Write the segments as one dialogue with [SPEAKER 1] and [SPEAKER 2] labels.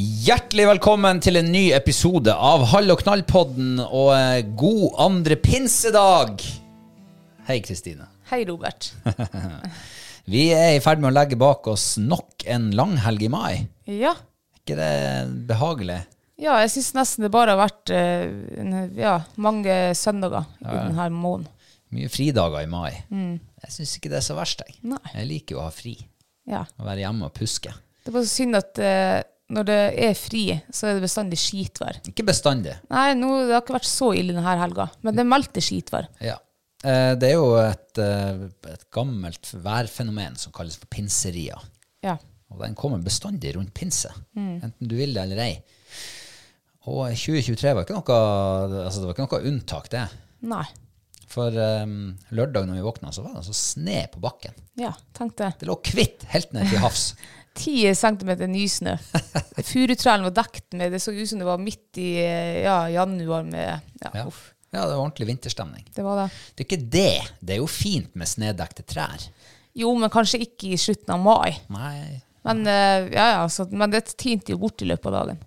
[SPEAKER 1] Hjertelig velkommen til en ny episode av Hall og knall-podden, og eh, god andre pinsedag! Hei, Kristine.
[SPEAKER 2] Hei, Robert.
[SPEAKER 1] Vi er i ferd med å legge bak oss nok en langhelg i mai. Er
[SPEAKER 2] Ja,
[SPEAKER 1] ikke det behagelig?
[SPEAKER 2] ja jeg syns nesten det bare har vært eh, en- ja, mange søndager i denne måneden.
[SPEAKER 1] Mye fridager i mai. Jeg syns ikke det er så verst, jeg.
[SPEAKER 2] Nei.
[SPEAKER 1] Jeg liker jo å ha fri.
[SPEAKER 2] Ja.
[SPEAKER 1] Å være hjemme og puske.
[SPEAKER 2] Det var så synd at eh, når det er fri, så er det bestandig skitvær.
[SPEAKER 1] Ikke bestandig.
[SPEAKER 2] Nei, nå, det har ikke vært så ille denne helga, men det meldte skitvær.
[SPEAKER 1] Ja. Eh, Det er jo et, eh, et gammelt værfenomen som kalles for pinserier.
[SPEAKER 2] Ja.
[SPEAKER 1] Og den kommer bestandig rundt pinse,
[SPEAKER 2] Mm.
[SPEAKER 1] enten du vil det eller ei. Og 2023 var ikke noe, altså det var ikke noe unntak, det.
[SPEAKER 2] Nei.
[SPEAKER 1] For um, lørdag når vi våkna, så var det altså sne på bakken.
[SPEAKER 2] Ja, tenkte jeg.
[SPEAKER 1] Det lå kvitt helt ned til havs.
[SPEAKER 2] Ti centimeter nysnø. Furutrærne var dekt med Det så ut som det var midt i eh, ja, januar med ja,
[SPEAKER 1] Ja.
[SPEAKER 2] uff.
[SPEAKER 1] ja, det var ordentlig vinterstemning.
[SPEAKER 2] Det var det.
[SPEAKER 1] Det er ikke det. Det er jo fint med snedekte trær.
[SPEAKER 2] Jo, men kanskje ikke i slutten av mai.
[SPEAKER 1] Nei
[SPEAKER 2] Men, eh, ja, ja, så, men det tinte jo bort i løpet av dagen.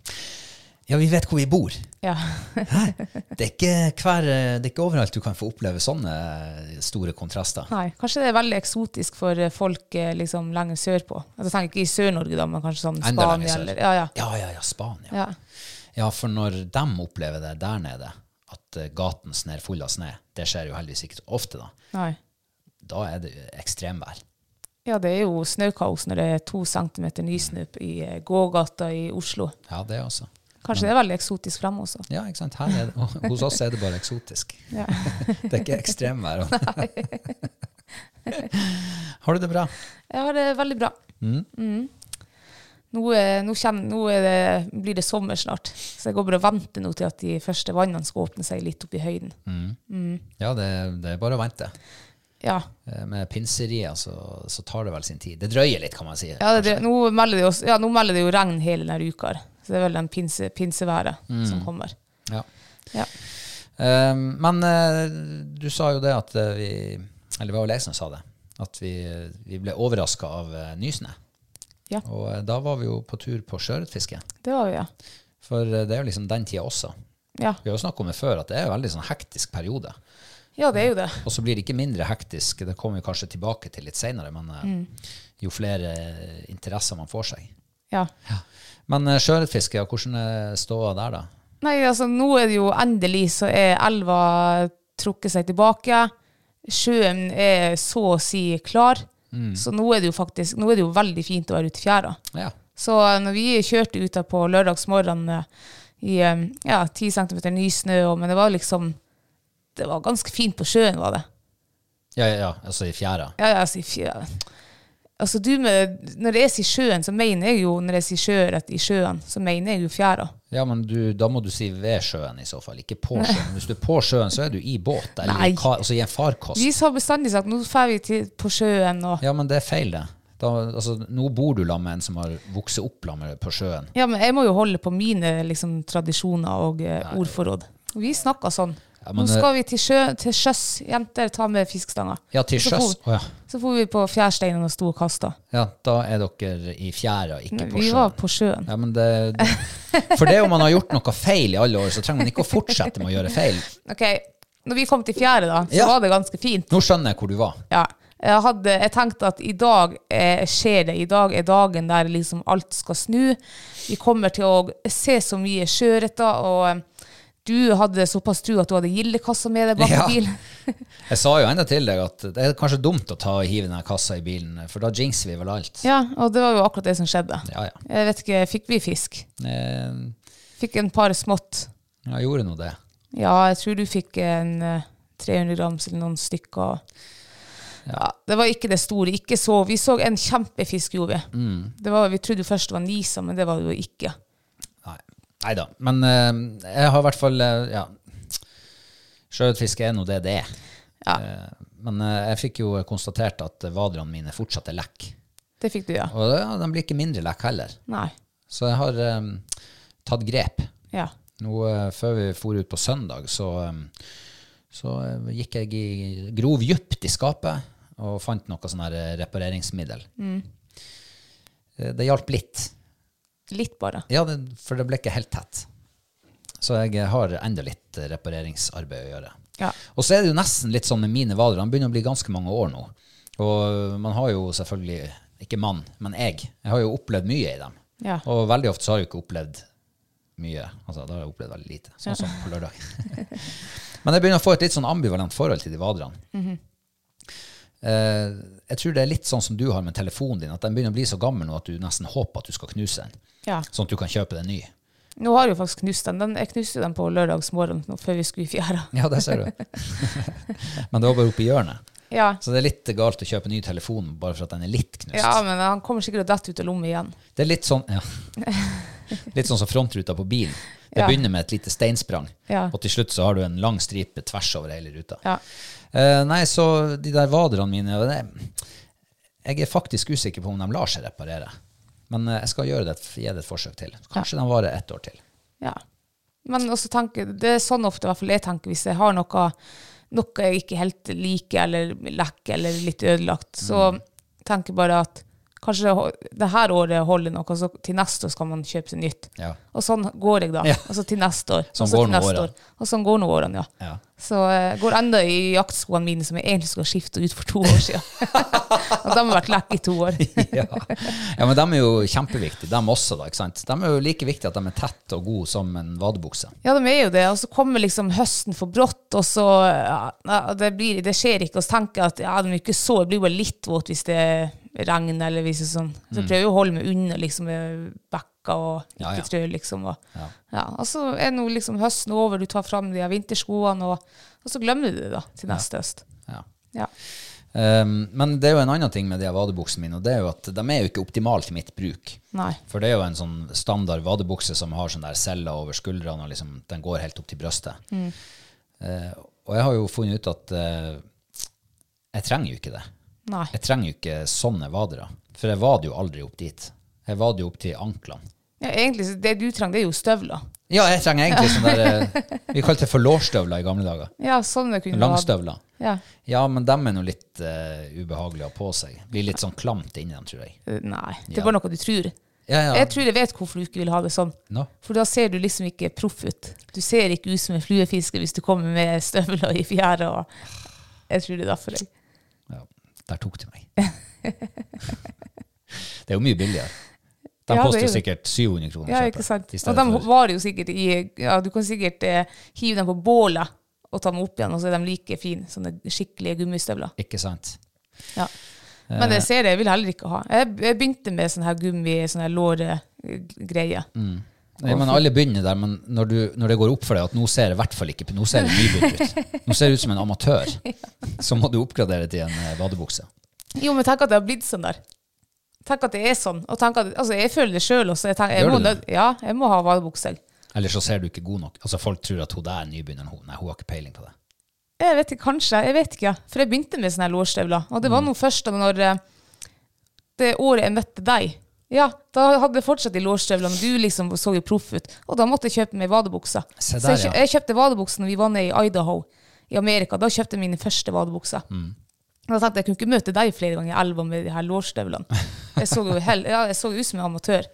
[SPEAKER 1] Ja, vi vet hvor vi bor.
[SPEAKER 2] Ja.
[SPEAKER 1] Det er ikke, hver, eh, det er ikke overalt du kan få oppleve sånne store kontraster.
[SPEAKER 2] Nei, kanskje det er veldig eksotisk for eh, folk eh, liksom, lenger sørpå. Altså, jeg tenker ikke i Sør-Norge, da, men kanskje sånn
[SPEAKER 1] Enda lenger
[SPEAKER 2] Spania
[SPEAKER 1] sør.
[SPEAKER 2] eller ja, ja.
[SPEAKER 1] ja, ja, ja Spania.
[SPEAKER 2] Ja.
[SPEAKER 1] Ja, for når de opplever det der nede, at eh, gaten snør full av snø, det skjer jo heldigvis ikke så ofte, da,
[SPEAKER 2] Nei.
[SPEAKER 1] da er det ekstremvær.
[SPEAKER 2] ja, det er jo snøkaos når det er to centimeter nysnø i eh, gågata i Oslo.
[SPEAKER 1] Ja, det også.
[SPEAKER 2] Kanskje det er veldig eksotisk fremme også.
[SPEAKER 1] Ja, ikke sant? Her er det, og hos oss er det bare eksotisk.
[SPEAKER 2] Ja.
[SPEAKER 1] Det er ikke ekstremvær. Har du det bra?
[SPEAKER 2] Jeg har det veldig bra. Mm. Nå, eh, nå, kjenner, nå er det, blir det sommer snart, så jeg går bare og venter nå til at de første vannene skal åpne seg litt opp i høyden.
[SPEAKER 1] Mm. Ja, det, det er bare å vente.
[SPEAKER 2] Ja,
[SPEAKER 1] Eh, Med pinserier så, så tar det vel sin tid. Det drøyer litt, kan man si.
[SPEAKER 2] Ja, det, det, nå, melder det jo, ja, nå melder det jo regn hele denne uka. her. Så det er vel den pinse, pinseværet som kommer.
[SPEAKER 1] Ja.
[SPEAKER 2] Ja.
[SPEAKER 1] Eh, men eh, du sa jo det at eh, vi Eller det var vel jeg som sa det. At vi, vi ble overraska av eh, nysnø.
[SPEAKER 2] Ja.
[SPEAKER 1] Og eh, da var vi jo på tur på sjøørretfiske.
[SPEAKER 2] Det var vi, ja.
[SPEAKER 1] For eh, det er jo liksom den tida også.
[SPEAKER 2] ja.
[SPEAKER 1] Vi har jo snakka om det før, at det er en veldig sånn hektisk periode.
[SPEAKER 2] Ja, det er jo det.
[SPEAKER 1] Og så blir det ikke mindre hektisk, det kommer vi kanskje tilbake til litt seinere, men eh, jo flere eh, interesser man får seg.
[SPEAKER 2] Ja.
[SPEAKER 1] Men eh, sjøørretfiske, ja, hvordan er ståa der, da?
[SPEAKER 2] Nei, altså nå er det jo endelig så er elva trukket seg tilbake. Sjøen er så å si klar. Så nå er det jo faktisk Nå er det jo veldig fint å være ute i fjæra.
[SPEAKER 1] Ja.
[SPEAKER 2] Så eh, når vi kjørte ut der på lørdagsmorgenen eh, i eh, ja, 10 cm ny snø, og- men det var liksom Det var ganske fint på sjøen, var det.
[SPEAKER 1] Ja, ja, ja. Altså i fjæra.
[SPEAKER 2] Ja, ja, altså, i fjø- altså du med, Når jeg sier sjøen, så mener jeg jo Når jeg sier sjøørret i sjøen, så mener jeg jo fjæra.
[SPEAKER 1] Ja, men du, da må du si ved sjøen i så fall, ikke på sjøen. Hvis du er på sjøen, så er du i båt, eller i
[SPEAKER 2] Nei.
[SPEAKER 1] ka, altså i en farkost.
[SPEAKER 2] Vi har bestandig sagt nå drar vi til, på sjøen og
[SPEAKER 1] Ja, men det er feil, det. Da, altså, nå bor du sammen med en som har vokst opp sammen med på sjøen.
[SPEAKER 2] Ja, men jeg må jo holde på mine liksom, tradisjoner og eh, ordforråd. Vi snakka sånn.
[SPEAKER 1] Ja, men
[SPEAKER 2] nå
[SPEAKER 1] det-
[SPEAKER 2] skal vi til, sjø, til sjøs, jenter, ta med fiskestanger.
[SPEAKER 1] Ja, til
[SPEAKER 2] Og så
[SPEAKER 1] sjøs.
[SPEAKER 2] for-
[SPEAKER 1] Å ja.
[SPEAKER 2] Så for vi på fjærsteinen og sto og kasta.
[SPEAKER 1] ja. Da er dere i fjæra, ikke på
[SPEAKER 2] Vi var
[SPEAKER 1] sjøen.
[SPEAKER 2] på sjøen.
[SPEAKER 1] Ja, men det, for det om man har gjort noe feil i alle år, så trenger man ikke å fortsette med å gjøre feil.
[SPEAKER 2] Ok, når vi kom til fjære, da, så
[SPEAKER 1] Ja.
[SPEAKER 2] var det ganske fint.
[SPEAKER 1] Nå skjønner jeg hvor du var.
[SPEAKER 2] Ja. Jeg, hadde, jeg tenkte at i dag eh, skjer det. I dag er dagen der liksom alt skal snu. Vi kommer til å se så mye sjøørreter, og eh, du hadde såpass tro at du hadde gildekassa med deg bak
[SPEAKER 1] Ja.
[SPEAKER 2] i bilen.
[SPEAKER 1] Jeg sa jo enda til deg at det er kanskje dumt å ta og hive denne kassa i bilen, for da jinxer vi vel alt.
[SPEAKER 2] Ja, og det var jo akkurat det som skjedde.
[SPEAKER 1] Ja, ja.
[SPEAKER 2] Jeg vet ikke, fikk vi fisk?
[SPEAKER 1] Eh,
[SPEAKER 2] Fikk en par smått.
[SPEAKER 1] Jeg gjorde nå det.
[SPEAKER 2] Ja, jeg tror du fikk en eh, 300 grams eller noen stykker. Ja, det var ikke det store. Ikke så. Vi så en kjempefisk, gjorde vi. Det var, vi trodde jo først det var Nisa, men det var det jo ikke.
[SPEAKER 1] Nei da. Men eh, jeg har i hvert fall eh, ja. Sjøørretfiske er nå det det er.
[SPEAKER 2] Ja.
[SPEAKER 1] Eh, men eh, jeg fikk jo konstatert at vaderne mine fortsatt er lekk.
[SPEAKER 2] Det fikk du, ja.
[SPEAKER 1] Og det- ja, de blir ikke mindre lekk heller.
[SPEAKER 2] Nei.
[SPEAKER 1] Så jeg har eh, tatt grep.
[SPEAKER 2] Ja.
[SPEAKER 1] Nå eh, Før vi for ut på søndag, så, eh, så eh, gikk jeg i grov djupt i skapet og fant noe sånn her eh, repareringsmiddel. Eh, Det hjalp litt.
[SPEAKER 2] Litt bare.
[SPEAKER 1] Ja, det, for det ble ikke helt tett. Så jeg har enda litt eh, repareringsarbeid å gjøre.
[SPEAKER 2] Ja.
[SPEAKER 1] Og så er det jo nesten litt sånn med mine vadere. Han begynner å bli ganske mange år nå. Og man har jo selvfølgelig, ikke mann, men jeg, jeg har jo opplevd mye i dem.
[SPEAKER 2] Ja.
[SPEAKER 1] Og veldig ofte så har jeg jo ikke opplevd mye. Altså, da har jeg opplevd veldig lite, sånn som på lørdag. men jeg begynner å få et litt sånn ambivalent forhold til de vaderne. Eh, jeg tror det er litt sånn som du har med telefonen din, at den begynner å bli så gammel nå at du nesten håper at du skal knuse den.
[SPEAKER 2] Ja.
[SPEAKER 1] Sånn at du kan kjøpe deg en ny.
[SPEAKER 2] Nå har jeg jo faktisk knust den. den jeg knuste den på lørdagsmorgen nå før vi skulle i fjæra.
[SPEAKER 1] Ja, det ser du. men det var bare oppe i hjørnet.
[SPEAKER 2] Ja.
[SPEAKER 1] Så det er litt galt å kjøpe ny telefon bare for at den er litt knust.
[SPEAKER 2] ja, men han kommer sikkert til å dette ut av lomma igjen.
[SPEAKER 1] Det er litt sånn ja. Litt sånn som frontruta på bilen. Det
[SPEAKER 2] Ja.
[SPEAKER 1] begynner med et lite steinsprang,
[SPEAKER 2] Ja.
[SPEAKER 1] og til slutt så har du en lang stripe tvers over hele ruta.
[SPEAKER 2] Ja.
[SPEAKER 1] Eh, nei, så de der vaderne mine det, Jeg er faktisk usikker på om de lar seg reparere. Men eh, jeg skal gjøre det, et- gi det et forsøk til. Kanskje de varer ett år til.
[SPEAKER 2] Ja. Men også tenker, det er sånn ofte i hvert fall jeg tenker hvis jeg har noe, noe jeg ikke helt liker, eller lekker, eller litt ødelagt, så
[SPEAKER 1] Mm.
[SPEAKER 2] tenker jeg bare at kanskje det, ho- det her året holder noe, så til neste år skal man kjøpe seg nytt.
[SPEAKER 1] Ja.
[SPEAKER 2] Og sånn går jeg da.
[SPEAKER 1] Ja.
[SPEAKER 2] Og så til neste år.
[SPEAKER 1] Sånn
[SPEAKER 2] og så
[SPEAKER 1] går
[SPEAKER 2] til
[SPEAKER 1] nå årene.
[SPEAKER 2] neste år. Og sånn går nå årene, ja.
[SPEAKER 1] Ja.
[SPEAKER 2] Så jeg går enda i jaktskoene mine, som jeg egentlig skulle ha skiftet ut for to år siden. og de har vært lekk i to år.
[SPEAKER 1] ja. ja, men de er jo kjempeviktige, de også. da, ikke sant? De er jo like viktige at de er tett og gode som en vadebukse.
[SPEAKER 2] Ja, de er jo det, og så kommer liksom høsten for brått, og så ja, ja, det, blir, det skjer ikke, og så tenker jeg at ja, de er ikke så, det blir bare litt våt hvis det regner, eller hvis det er sånn. Så jeg prøver jo å holde meg unna liksom ved bekka og ikke
[SPEAKER 1] Mm. Ja, ja.
[SPEAKER 2] trø, liksom. Og,
[SPEAKER 1] Ja.
[SPEAKER 2] ja. og så er nå liksom høsten over, du tar fram de her vinterskoene, og, og så glemmer du det da, til neste høst.
[SPEAKER 1] Ja.
[SPEAKER 2] Ja.
[SPEAKER 1] Um, men det er jo en annen ting med de her vadebuksene mine, og det er jo at de er jo ikke optimale til mitt bruk.
[SPEAKER 2] Nei.
[SPEAKER 1] For det er jo en sånn standard vadebukse som har sånn der celler over skuldrene, og liksom, den går helt opp til brøstet. Eh, og jeg har jo funnet ut at eh, jeg trenger jo ikke det.
[SPEAKER 2] Nei.
[SPEAKER 1] Jeg trenger jo ikke sånne vadere. For jeg vader jo aldri opp dit. Jeg vader jo opp til anklene.
[SPEAKER 2] Ja, egentlig, så det du trenger, det er jo støvler.
[SPEAKER 1] Ja, jeg trenger egentlig sånne der eh, Vi kalte det for lårstøvler i gamle dager.
[SPEAKER 2] Ja, sånn det kunne ha-
[SPEAKER 1] Langstøvler.
[SPEAKER 2] Ja.
[SPEAKER 1] Ja, men dem er nå litt eh, ubehagelige å ha på seg. Blir litt sånn klamt inni dem, tror jeg.
[SPEAKER 2] Eh, Nei, det
[SPEAKER 1] Ja.
[SPEAKER 2] er bare noe du tror.
[SPEAKER 1] Ja, ja.
[SPEAKER 2] Jeg tror jeg vet hvorfor du ikke vil ha det sånn.
[SPEAKER 1] Nå?
[SPEAKER 2] For da ser du liksom ikke proff ut. Du ser ikke ut som en fluefisker hvis du kommer med støvler i fjæra. og- Jeg tror det er derfor jeg
[SPEAKER 1] Ja, der tok de meg. det er jo mye billigere. De
[SPEAKER 2] Ja, det
[SPEAKER 1] koster
[SPEAKER 2] er
[SPEAKER 1] jo
[SPEAKER 2] jo det.
[SPEAKER 1] sikkert 700 kroner å
[SPEAKER 2] Ja,
[SPEAKER 1] kjøpe,
[SPEAKER 2] ikke sant?
[SPEAKER 1] i
[SPEAKER 2] Og
[SPEAKER 1] stedet
[SPEAKER 2] de
[SPEAKER 1] for-
[SPEAKER 2] varer jo sikkert i ja, Du kan sikkert eh, hive dem på bålet og ta dem opp igjen, og så er de like fine. Sånne skikkelige gummistøvler.
[SPEAKER 1] Ikke sant?
[SPEAKER 2] Ja. Men
[SPEAKER 1] Eh.
[SPEAKER 2] jeg ser det, jeg vil heller ikke ha. Jeg, jeg begynte med sånn her gummi, sånn her låregreie.
[SPEAKER 1] Mm. Nei, men Alle begynner der, men når, du, når det går opp for deg at nå ser det i hvert fall ikke nå ser det nybegynt ut, nå ser det ut som en amatør, så må du oppgradere til en eh, badebukse.
[SPEAKER 2] Jo, men tenk at det har blitt sånn der. Tenk at det er sånn. Og tenk at, altså, jeg føler det sjøl også. Jeg tenker, jeg
[SPEAKER 1] Gjør
[SPEAKER 2] må,
[SPEAKER 1] du det?
[SPEAKER 2] nød- ja, jeg må ha vadebukse.
[SPEAKER 1] Eller så ser du ikke god nok. Altså Folk tror at hun der er nybegynner. Hun. Nei, hun har ikke peiling på det.
[SPEAKER 2] Jeg vet ikke, kanskje. Jeg vet ikke, ja. For jeg begynte med sånne her lårstøvler. Og
[SPEAKER 1] Mm.
[SPEAKER 2] det var nå først da når eh, det året jeg møtte deg. Ja, da hadde jeg fortsatt i lårstøvlene. Du liksom så jo proff ut. Og da måtte jeg kjøpe meg vadebukser.
[SPEAKER 1] Se
[SPEAKER 2] Så jeg,
[SPEAKER 1] der,
[SPEAKER 2] kjø-
[SPEAKER 1] ja.
[SPEAKER 2] jeg kjøpte vadebukser når vi var nede i Idaho i Amerika. Da kjøpte jeg mine første vadebukser.
[SPEAKER 1] Mm.
[SPEAKER 2] Da tenkte jeg jeg kunne ikke møte deg flere ganger i elva med de her lårstøvlene. Jeg så jo hell, ja, jeg så jo ut som en amatør.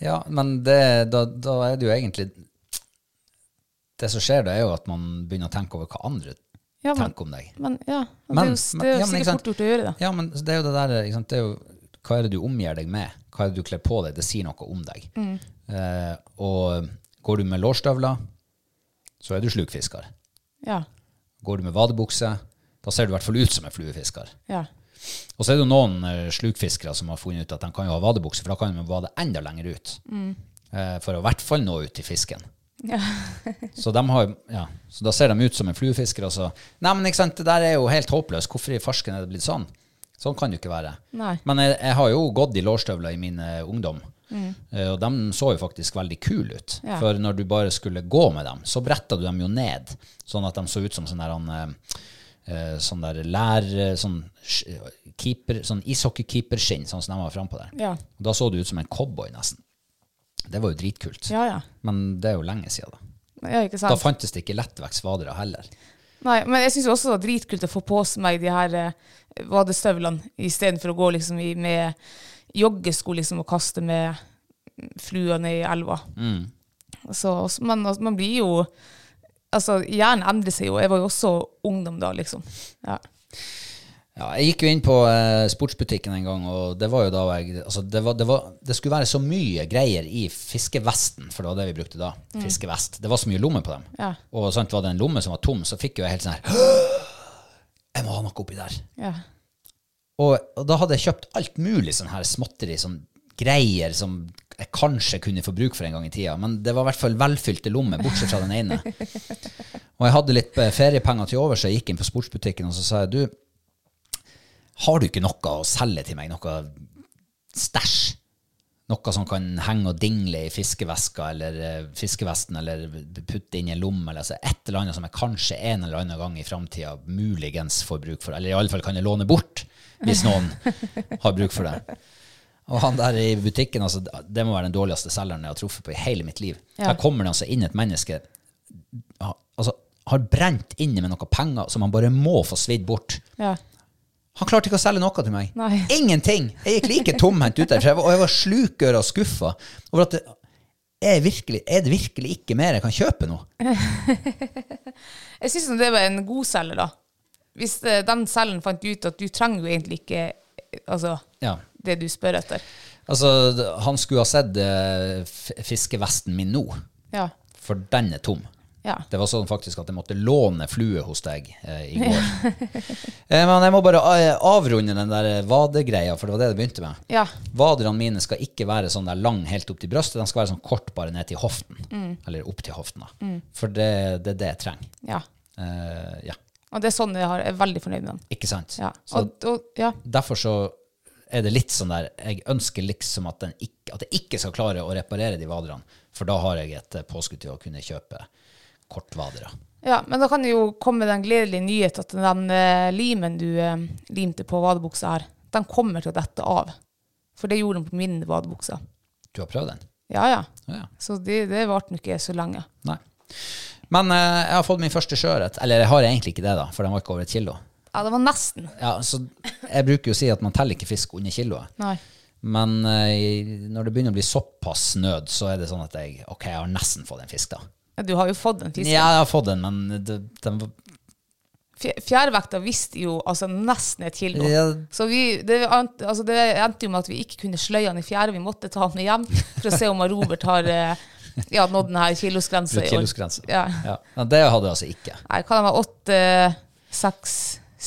[SPEAKER 1] Ja, men det, da, da er det jo egentlig Det som skjer, det er jo at man begynner å tenke over hva andre
[SPEAKER 2] Ja, men,
[SPEAKER 1] tenker om deg.
[SPEAKER 2] men ja, det
[SPEAKER 1] Men-
[SPEAKER 2] er jo,
[SPEAKER 1] men-
[SPEAKER 2] det er
[SPEAKER 1] ja, men
[SPEAKER 2] jo
[SPEAKER 1] ikke
[SPEAKER 2] sikkert
[SPEAKER 1] sant?
[SPEAKER 2] fort gjort å gjøre det.
[SPEAKER 1] Ja, men det er jo det der ikke sant? Det er jo, Hva er det du omgir deg med? Hva er det du kler på deg? Det sier noe om deg.
[SPEAKER 2] Mm.
[SPEAKER 1] Eh, og går du med lårstøvler, så er du slukfisker.
[SPEAKER 2] Ja,
[SPEAKER 1] Går du med vadebukse, da ser du i hvert fall ut som en fluefisker.
[SPEAKER 2] ja.
[SPEAKER 1] Og så er det jo noen eh, slukfiskere som har funnet ut at de kan jo ha vadebukse, for da kan de jo vade enda lenger ut. Eh, For å i hvert fall nå ut til fisken.
[SPEAKER 2] Mm. Ja.
[SPEAKER 1] så, de har, ja, så da ser de ut som en fluefisker, og så Nei, men ikke sant, det der er jo helt håpløst. Hvorfor i farsken er det blitt sånn? Sånn kan det jo ikke være.
[SPEAKER 2] Nei.
[SPEAKER 1] Men jeg, jeg har jo gått i lårstøvler i min eh, ungdom, Eh, og de så jo faktisk veldig kule ut.
[SPEAKER 2] Mm. Ja.
[SPEAKER 1] For når du bare skulle gå med dem, så bretta du dem jo ned, sånn at de så ut som sånn der han eh, eh, sånn der lær, eh, sånn, sk- keeper, sånn ishockeykeeperskinn, sånn som de var frampå der.
[SPEAKER 2] Ja.
[SPEAKER 1] Og Da så du ut som en cowboy, nesten. Det var jo dritkult.
[SPEAKER 2] Ja, ja.
[SPEAKER 1] Men det er jo lenge siden, da.
[SPEAKER 2] ja ikke
[SPEAKER 1] Da
[SPEAKER 2] sant?
[SPEAKER 1] fantes det ikke lettvektsvadere heller.
[SPEAKER 2] Nei, men jeg syns også det var dritkult å få på meg de her eh, vadestøvlene istedenfor å gå liksom i, med joggesko liksom, og kaste med flua ned i elva. Så, også- men altså, man blir jo Altså, hjernen endrer seg jo. Jeg var jo også ungdom da, liksom. Ja.
[SPEAKER 1] Ja, jeg gikk jo inn på eh, sportsbutikken en gang, og det var jo da jeg altså det, var, det, var, det skulle være så mye greier i fiskevesten, for det var det vi brukte da. Fiskevest. Det var så mye lommer på dem.
[SPEAKER 2] Mm. Ja.
[SPEAKER 1] Og sant, var det en lomme som var tom, så fikk jo jeg helt sånn her Jeg må ha noe oppi der.
[SPEAKER 2] ja.
[SPEAKER 1] Og, og da hadde jeg kjøpt alt mulig sånn her småtteri, sånn greier som jeg kanskje kunne få bruk for en gang i tida, men det var i hvert fall velfylte lommer, bortsett fra den ene. Og jeg hadde litt eh, feriepenger til over, så jeg gikk inn på sportsbutikken og så sa jeg, du, har du ikke noe å selge til meg, noe stæsj? Noe som kan henge og dingle i fiskeveska eller eh, fiskevesten, eller putte inn i en lomme, eller altså et eller annet som jeg kanskje en eller annen gang i framtida muligens får bruk for, eller i alle fall kan jeg låne bort, hvis noen har bruk for det. Og han der i butikken, altså, det må være den dårligste selgeren jeg har truffet på i hele mitt liv.
[SPEAKER 2] Ja.
[SPEAKER 1] Her kommer det altså inn et menneske ha- altså, har brent inne med noe penger som han bare må få svidd bort.
[SPEAKER 2] ja.
[SPEAKER 1] Han klarte ikke å selge noe til meg.
[SPEAKER 2] Nei.
[SPEAKER 1] Ingenting! Jeg gikk like tomhendt ut derfra, og jeg var slukøra og skuffa over at det, er, virkelig, er det virkelig ikke mer jeg kan kjøpe nå?
[SPEAKER 2] Jeg syns det var en god selger, da. Hvis eh, den selgeren fant ut at du trenger jo egentlig ikke eh, altså,
[SPEAKER 1] Ja.
[SPEAKER 2] det du spør etter.
[SPEAKER 1] Altså, han skulle ha sett eh, f- fiskevesten min nå,
[SPEAKER 2] Ja.
[SPEAKER 1] for den er tom.
[SPEAKER 2] Ja.
[SPEAKER 1] Det var sånn faktisk at jeg måtte låne flue hos deg eh, i går. eh, men jeg må bare eh, avrunde den der eh, vadegreia, for det var det det begynte med.
[SPEAKER 2] Ja.
[SPEAKER 1] Vaderne mine skal ikke være sånn der lang helt opp til brøstet, de skal være sånn kort bare ned til hoften.
[SPEAKER 2] Mm.
[SPEAKER 1] Eller opp til hoften, da. For det det er det jeg trenger.
[SPEAKER 2] ja.
[SPEAKER 1] Eh, ja,
[SPEAKER 2] Og det er sånn jeg, har, jeg er veldig fornøyd med den.
[SPEAKER 1] ikke sant?
[SPEAKER 2] Ja.
[SPEAKER 1] Så
[SPEAKER 2] Og, og, ja.
[SPEAKER 1] derfor så er det litt sånn der Jeg ønsker liksom at, den ikke, at jeg ikke skal klare å reparere de vaderne, for da har jeg et eh, påskudd til å kunne kjøpe kortvadere.
[SPEAKER 2] Ja, men da kan det jo komme den gledelige nyhet at den eh, limen du eh, limte på vadebuksa her, den kommer til å dette av. For det gjorde den på min vadebukse.
[SPEAKER 1] Du har prøvd den?
[SPEAKER 2] Ja, ja.
[SPEAKER 1] Ja, ja.
[SPEAKER 2] Så det, det varte nå ikke så lenge.
[SPEAKER 1] Nei. Men eh, jeg har fått min første sjøørret. Eller jeg har egentlig ikke det, da, for den var ikke over et kilo.
[SPEAKER 2] Ja, det var nesten.
[SPEAKER 1] Ja, så jeg bruker jo å si at man teller ikke fisk under kiloet.
[SPEAKER 2] Nei.
[SPEAKER 1] Men eh, i- når det begynner å bli såpass nød, så er det sånn at jeg ok, jeg har nesten fått en fisk, da.
[SPEAKER 2] Ja, Du har jo fått en fisk.
[SPEAKER 1] Ja, jeg har fått en, men det, den var
[SPEAKER 2] Fj- Fjærvekta visste jo altså nesten et kilo.
[SPEAKER 1] Ja.
[SPEAKER 2] Så vi, det, ant- altså, det endte jo med at vi ikke kunne sløye han i fjære. Vi måtte ta han med hjem for å se om han Robert har eh, ja, nådd denne kilosgrensa i år.
[SPEAKER 1] kilosgrensa.
[SPEAKER 2] Ja.
[SPEAKER 1] Ja. Men det hadde jeg altså ikke.
[SPEAKER 2] Nei, hva den var åtte, seks,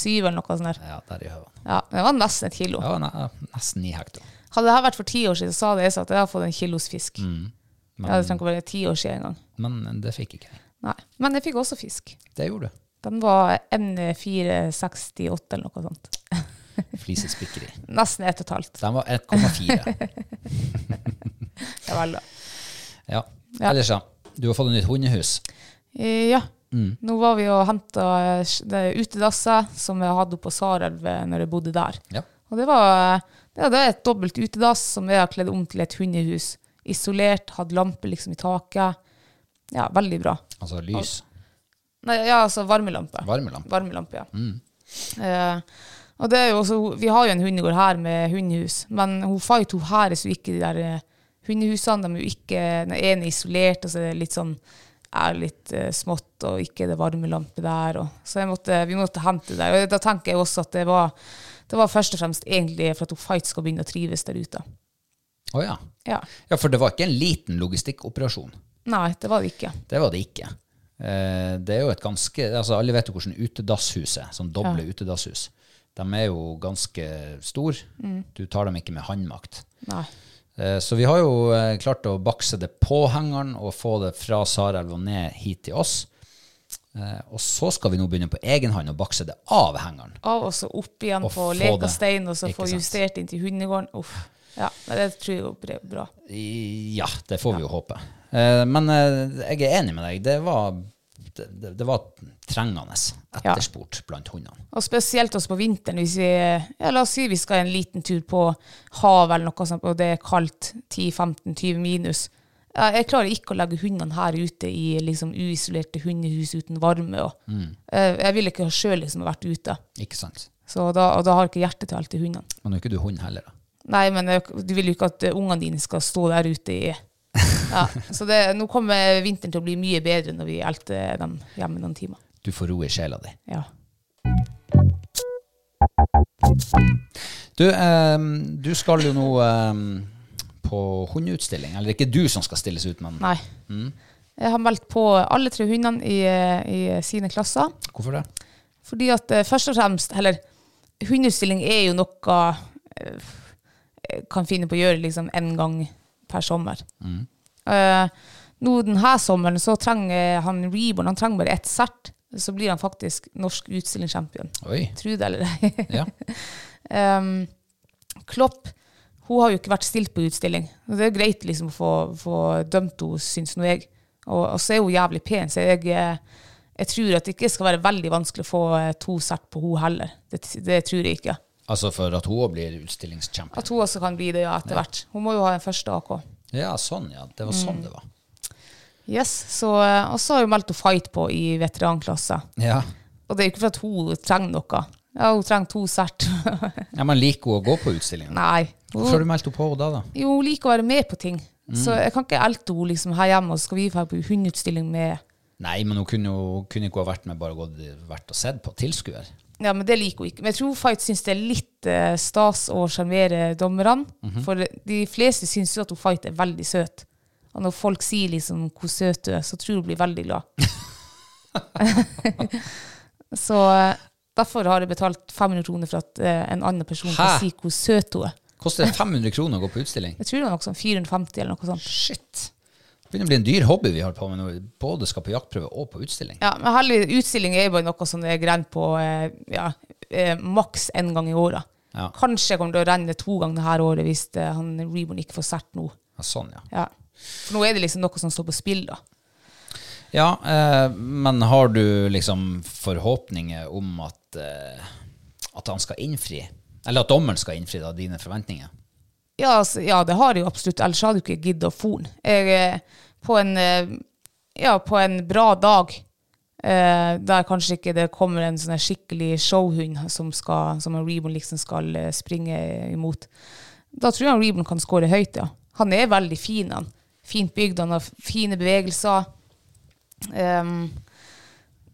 [SPEAKER 2] syv eller noe sånt der.
[SPEAKER 1] Ja, der i høven.
[SPEAKER 2] Ja, det var nesten et kilo.
[SPEAKER 1] Ja, ne nesten ni hektar.
[SPEAKER 2] Hadde det her vært for ti år siden, så hadde jeg sagt at jeg hadde fått en kilos fisk. ja, det trenger ikke å være ti år siden engang.
[SPEAKER 1] Men det fikk ikke jeg.
[SPEAKER 2] Nei. Men jeg fikk også fisk.
[SPEAKER 1] Det gjorde du.
[SPEAKER 2] Den var N468 eller noe sånt.
[SPEAKER 1] Flisespikkeri.
[SPEAKER 2] Nesten ett og et halvt.
[SPEAKER 1] Den var 1,4.
[SPEAKER 2] Det var alle.
[SPEAKER 1] Ja. Ellers, ja. Du har fått et nytt hundehus.
[SPEAKER 2] Eh, Ja. Nå var vi og eh, henta utedasser som jeg hadde på Sarelv eh, når jeg bodde der.
[SPEAKER 1] Ja.
[SPEAKER 2] Og det var, det var et dobbelt utedass som jeg har kledd om til et hundehus. Isolert, hadde lampe liksom i taket. Ja, veldig bra.
[SPEAKER 1] Altså lys.
[SPEAKER 2] Nei, ja, altså varmelampe.
[SPEAKER 1] Varmelampe.
[SPEAKER 2] Varmelampe, ja. Eh, og det er jo også, vi har jo en hundegård her med hundehus, men hun Fight hun her er så ikke de der eh, hundehusene. De er jo ikke, den ene er isolert, og så er det litt sånn er litt eh, smått, og ikke er det varmelampe der. Og, så jeg måtte, vi måtte hente det der. Og da tenker jeg også at det var, det var først og fremst egentlig for at hun Fight skal begynne å trives der ute.
[SPEAKER 1] Å ja.
[SPEAKER 2] Ja.
[SPEAKER 1] ja. For det var ikke en liten logistikkoperasjon.
[SPEAKER 2] Nei, det var det ikke.
[SPEAKER 1] Det var det ikke. Eh, Det er jo et ganske altså Alle vet jo hvordan utedasshus er. Sånn doble utedasshus. De er jo ganske store. Du tar dem ikke med håndmakt.
[SPEAKER 2] Nei.
[SPEAKER 1] Eh, Så vi har jo eh, klart å bakse det på hengeren og få det fra Sarelv og ned hit til oss. Eh, Og så skal vi nå begynne på egen hånd å bakse det av hengeren.
[SPEAKER 2] Av og så opp igjen
[SPEAKER 1] Og
[SPEAKER 2] på
[SPEAKER 1] få det.
[SPEAKER 2] lekastein, og så
[SPEAKER 1] Ikke
[SPEAKER 2] få
[SPEAKER 1] sant.
[SPEAKER 2] justert inn til hundegården. Uff. Ja, men det tror jeg blir bra.
[SPEAKER 1] I- Ja, det får vi jo håpe. Eh, Men eh, jeg er enig med deg. Det var, det, det- det var trengende
[SPEAKER 2] Ja.
[SPEAKER 1] etterspurt blant hundene.
[SPEAKER 2] Og spesielt også på vinteren, hvis vi ja, la oss si vi skal en liten tur på havet eller noe sånt, og det er kaldt 10-15-20 minus. Ja, Jeg klarer ikke å legge hundene her ute i liksom uisolerte hundehus uten varme. Og,
[SPEAKER 1] Mm.
[SPEAKER 2] Eh, Jeg vil ikke sjøl liksom ha vært ute,
[SPEAKER 1] Ikke sant?
[SPEAKER 2] så da, og da har jeg ikke hjerte til alt til hundene.
[SPEAKER 1] Men nå er ikke du hund heller, da.
[SPEAKER 2] Nei, men jeg- du vil jo ikke at eh, ungene dine skal stå der ute i ja, Så det, nå kommer vinteren til å bli mye bedre når vi elter dem hjemme noen timer.
[SPEAKER 1] Du får ro i sjela di.
[SPEAKER 2] Ja.
[SPEAKER 1] Du, ehm, du skal jo nå ehm, på hundeutstilling. Eller ikke du som skal stilles ut, men
[SPEAKER 2] Nei. Jeg har meldt på alle tre hundene i, eh, i sine klasser.
[SPEAKER 1] hvorfor det?
[SPEAKER 2] Fordi at eh, først og fremst, eller hundeutstilling er jo noe eh, jeg kan finne på å gjøre liksom en gang per sommer. Eh, nå denne sommeren så trenger han Reborn, han trenger bare ett sert, så blir han faktisk norsk utstillingschampion.
[SPEAKER 1] Oi.
[SPEAKER 2] Tro det eller ei.
[SPEAKER 1] Ja.
[SPEAKER 2] Ehm, Klopp hun har jo ikke vært stilt på utstilling. Og Det er jo greit liksom å få, få dømt henne, syns nå jeg. Og, og så er hun jævlig pen, så jeg, eh, jeg tror at det ikke skal være veldig vanskelig å få eh, to sert på henne heller. Det, det tror jeg ikke.
[SPEAKER 1] Altså for at hun òg blir utstillingschampion.
[SPEAKER 2] At hun også kan bli det ja, etter hvert. Hun må jo ha en første AK.
[SPEAKER 1] Ja, sånn, ja. Det var
[SPEAKER 2] Mm.
[SPEAKER 1] sånn det var.
[SPEAKER 2] Yes, så, eh, Og så har hun meldt henne fight på i veteranklasse.
[SPEAKER 1] Ja.
[SPEAKER 2] Og det er jo ikke for at hun trenger noe. Ja, Hun trenger to sert.
[SPEAKER 1] ja men liker hun å gå på utstillingen?
[SPEAKER 2] Nei.
[SPEAKER 1] Hvorfor har
[SPEAKER 2] Hun,
[SPEAKER 1] du meldt henne på henne da, da?
[SPEAKER 2] jo, hun liker å være med på ting. Så jeg kan ikke elte henne liksom, her hjemme, og så skal vi dra på hundeutstilling med
[SPEAKER 1] Nei, men hun kunne jo kunne ikke ha vært med, bare gått vært og sett på. Tilskuer.
[SPEAKER 2] Ja, men det liker hun ikke. Men jeg tror Fight syns det er litt eh, stas å sjarmere dommerne. For de fleste syns jo at hun Fight er veldig søt. Og når folk sier liksom hvor søt du er, så tror jeg hun blir veldig glad. så eh, derfor har jeg betalt 500 kroner for at eh, en annen person
[SPEAKER 1] Hæ?
[SPEAKER 2] kan si hvor søt hun er.
[SPEAKER 1] Koster det 500 kroner å gå på utstilling?
[SPEAKER 2] Jeg tror det var noe sånn 450 eller noe sånt.
[SPEAKER 1] Shit. Det begynner å bli en dyr hobby vi har på med når vi både skal på jaktprøve og på utstilling.
[SPEAKER 2] Ja, men heldigvis, utstilling er jo bare noe som er grent på eh, ja, eh, maks én gang i året.
[SPEAKER 1] Ja.
[SPEAKER 2] Kanskje kommer det å renne to ganger det her året hvis eh, han Reborn ikke får sett nå.
[SPEAKER 1] Ja, sånn, ja.
[SPEAKER 2] Ja. For nå er det liksom noe som står på spill, da.
[SPEAKER 1] Ja, eh, men har du liksom forhåpninger om at, eh, at han skal innfri? Eller at dommeren skal innfri da, dine forventninger?
[SPEAKER 2] Ja, altså, ja det har jeg jo absolutt, ellers hadde jeg ikke giddet å forn. Jeg, eh, på, en, eh, ja, på en bra dag, eh, der kanskje ikke det kommer en sånn her skikkelig showhund som, skal, som en Reborn liksom skal eh, springe imot, da tror jeg han Reborn kan score høyt, ja. Han er veldig fin, han. Fint bygd, han har fine bevegelser. Ehm,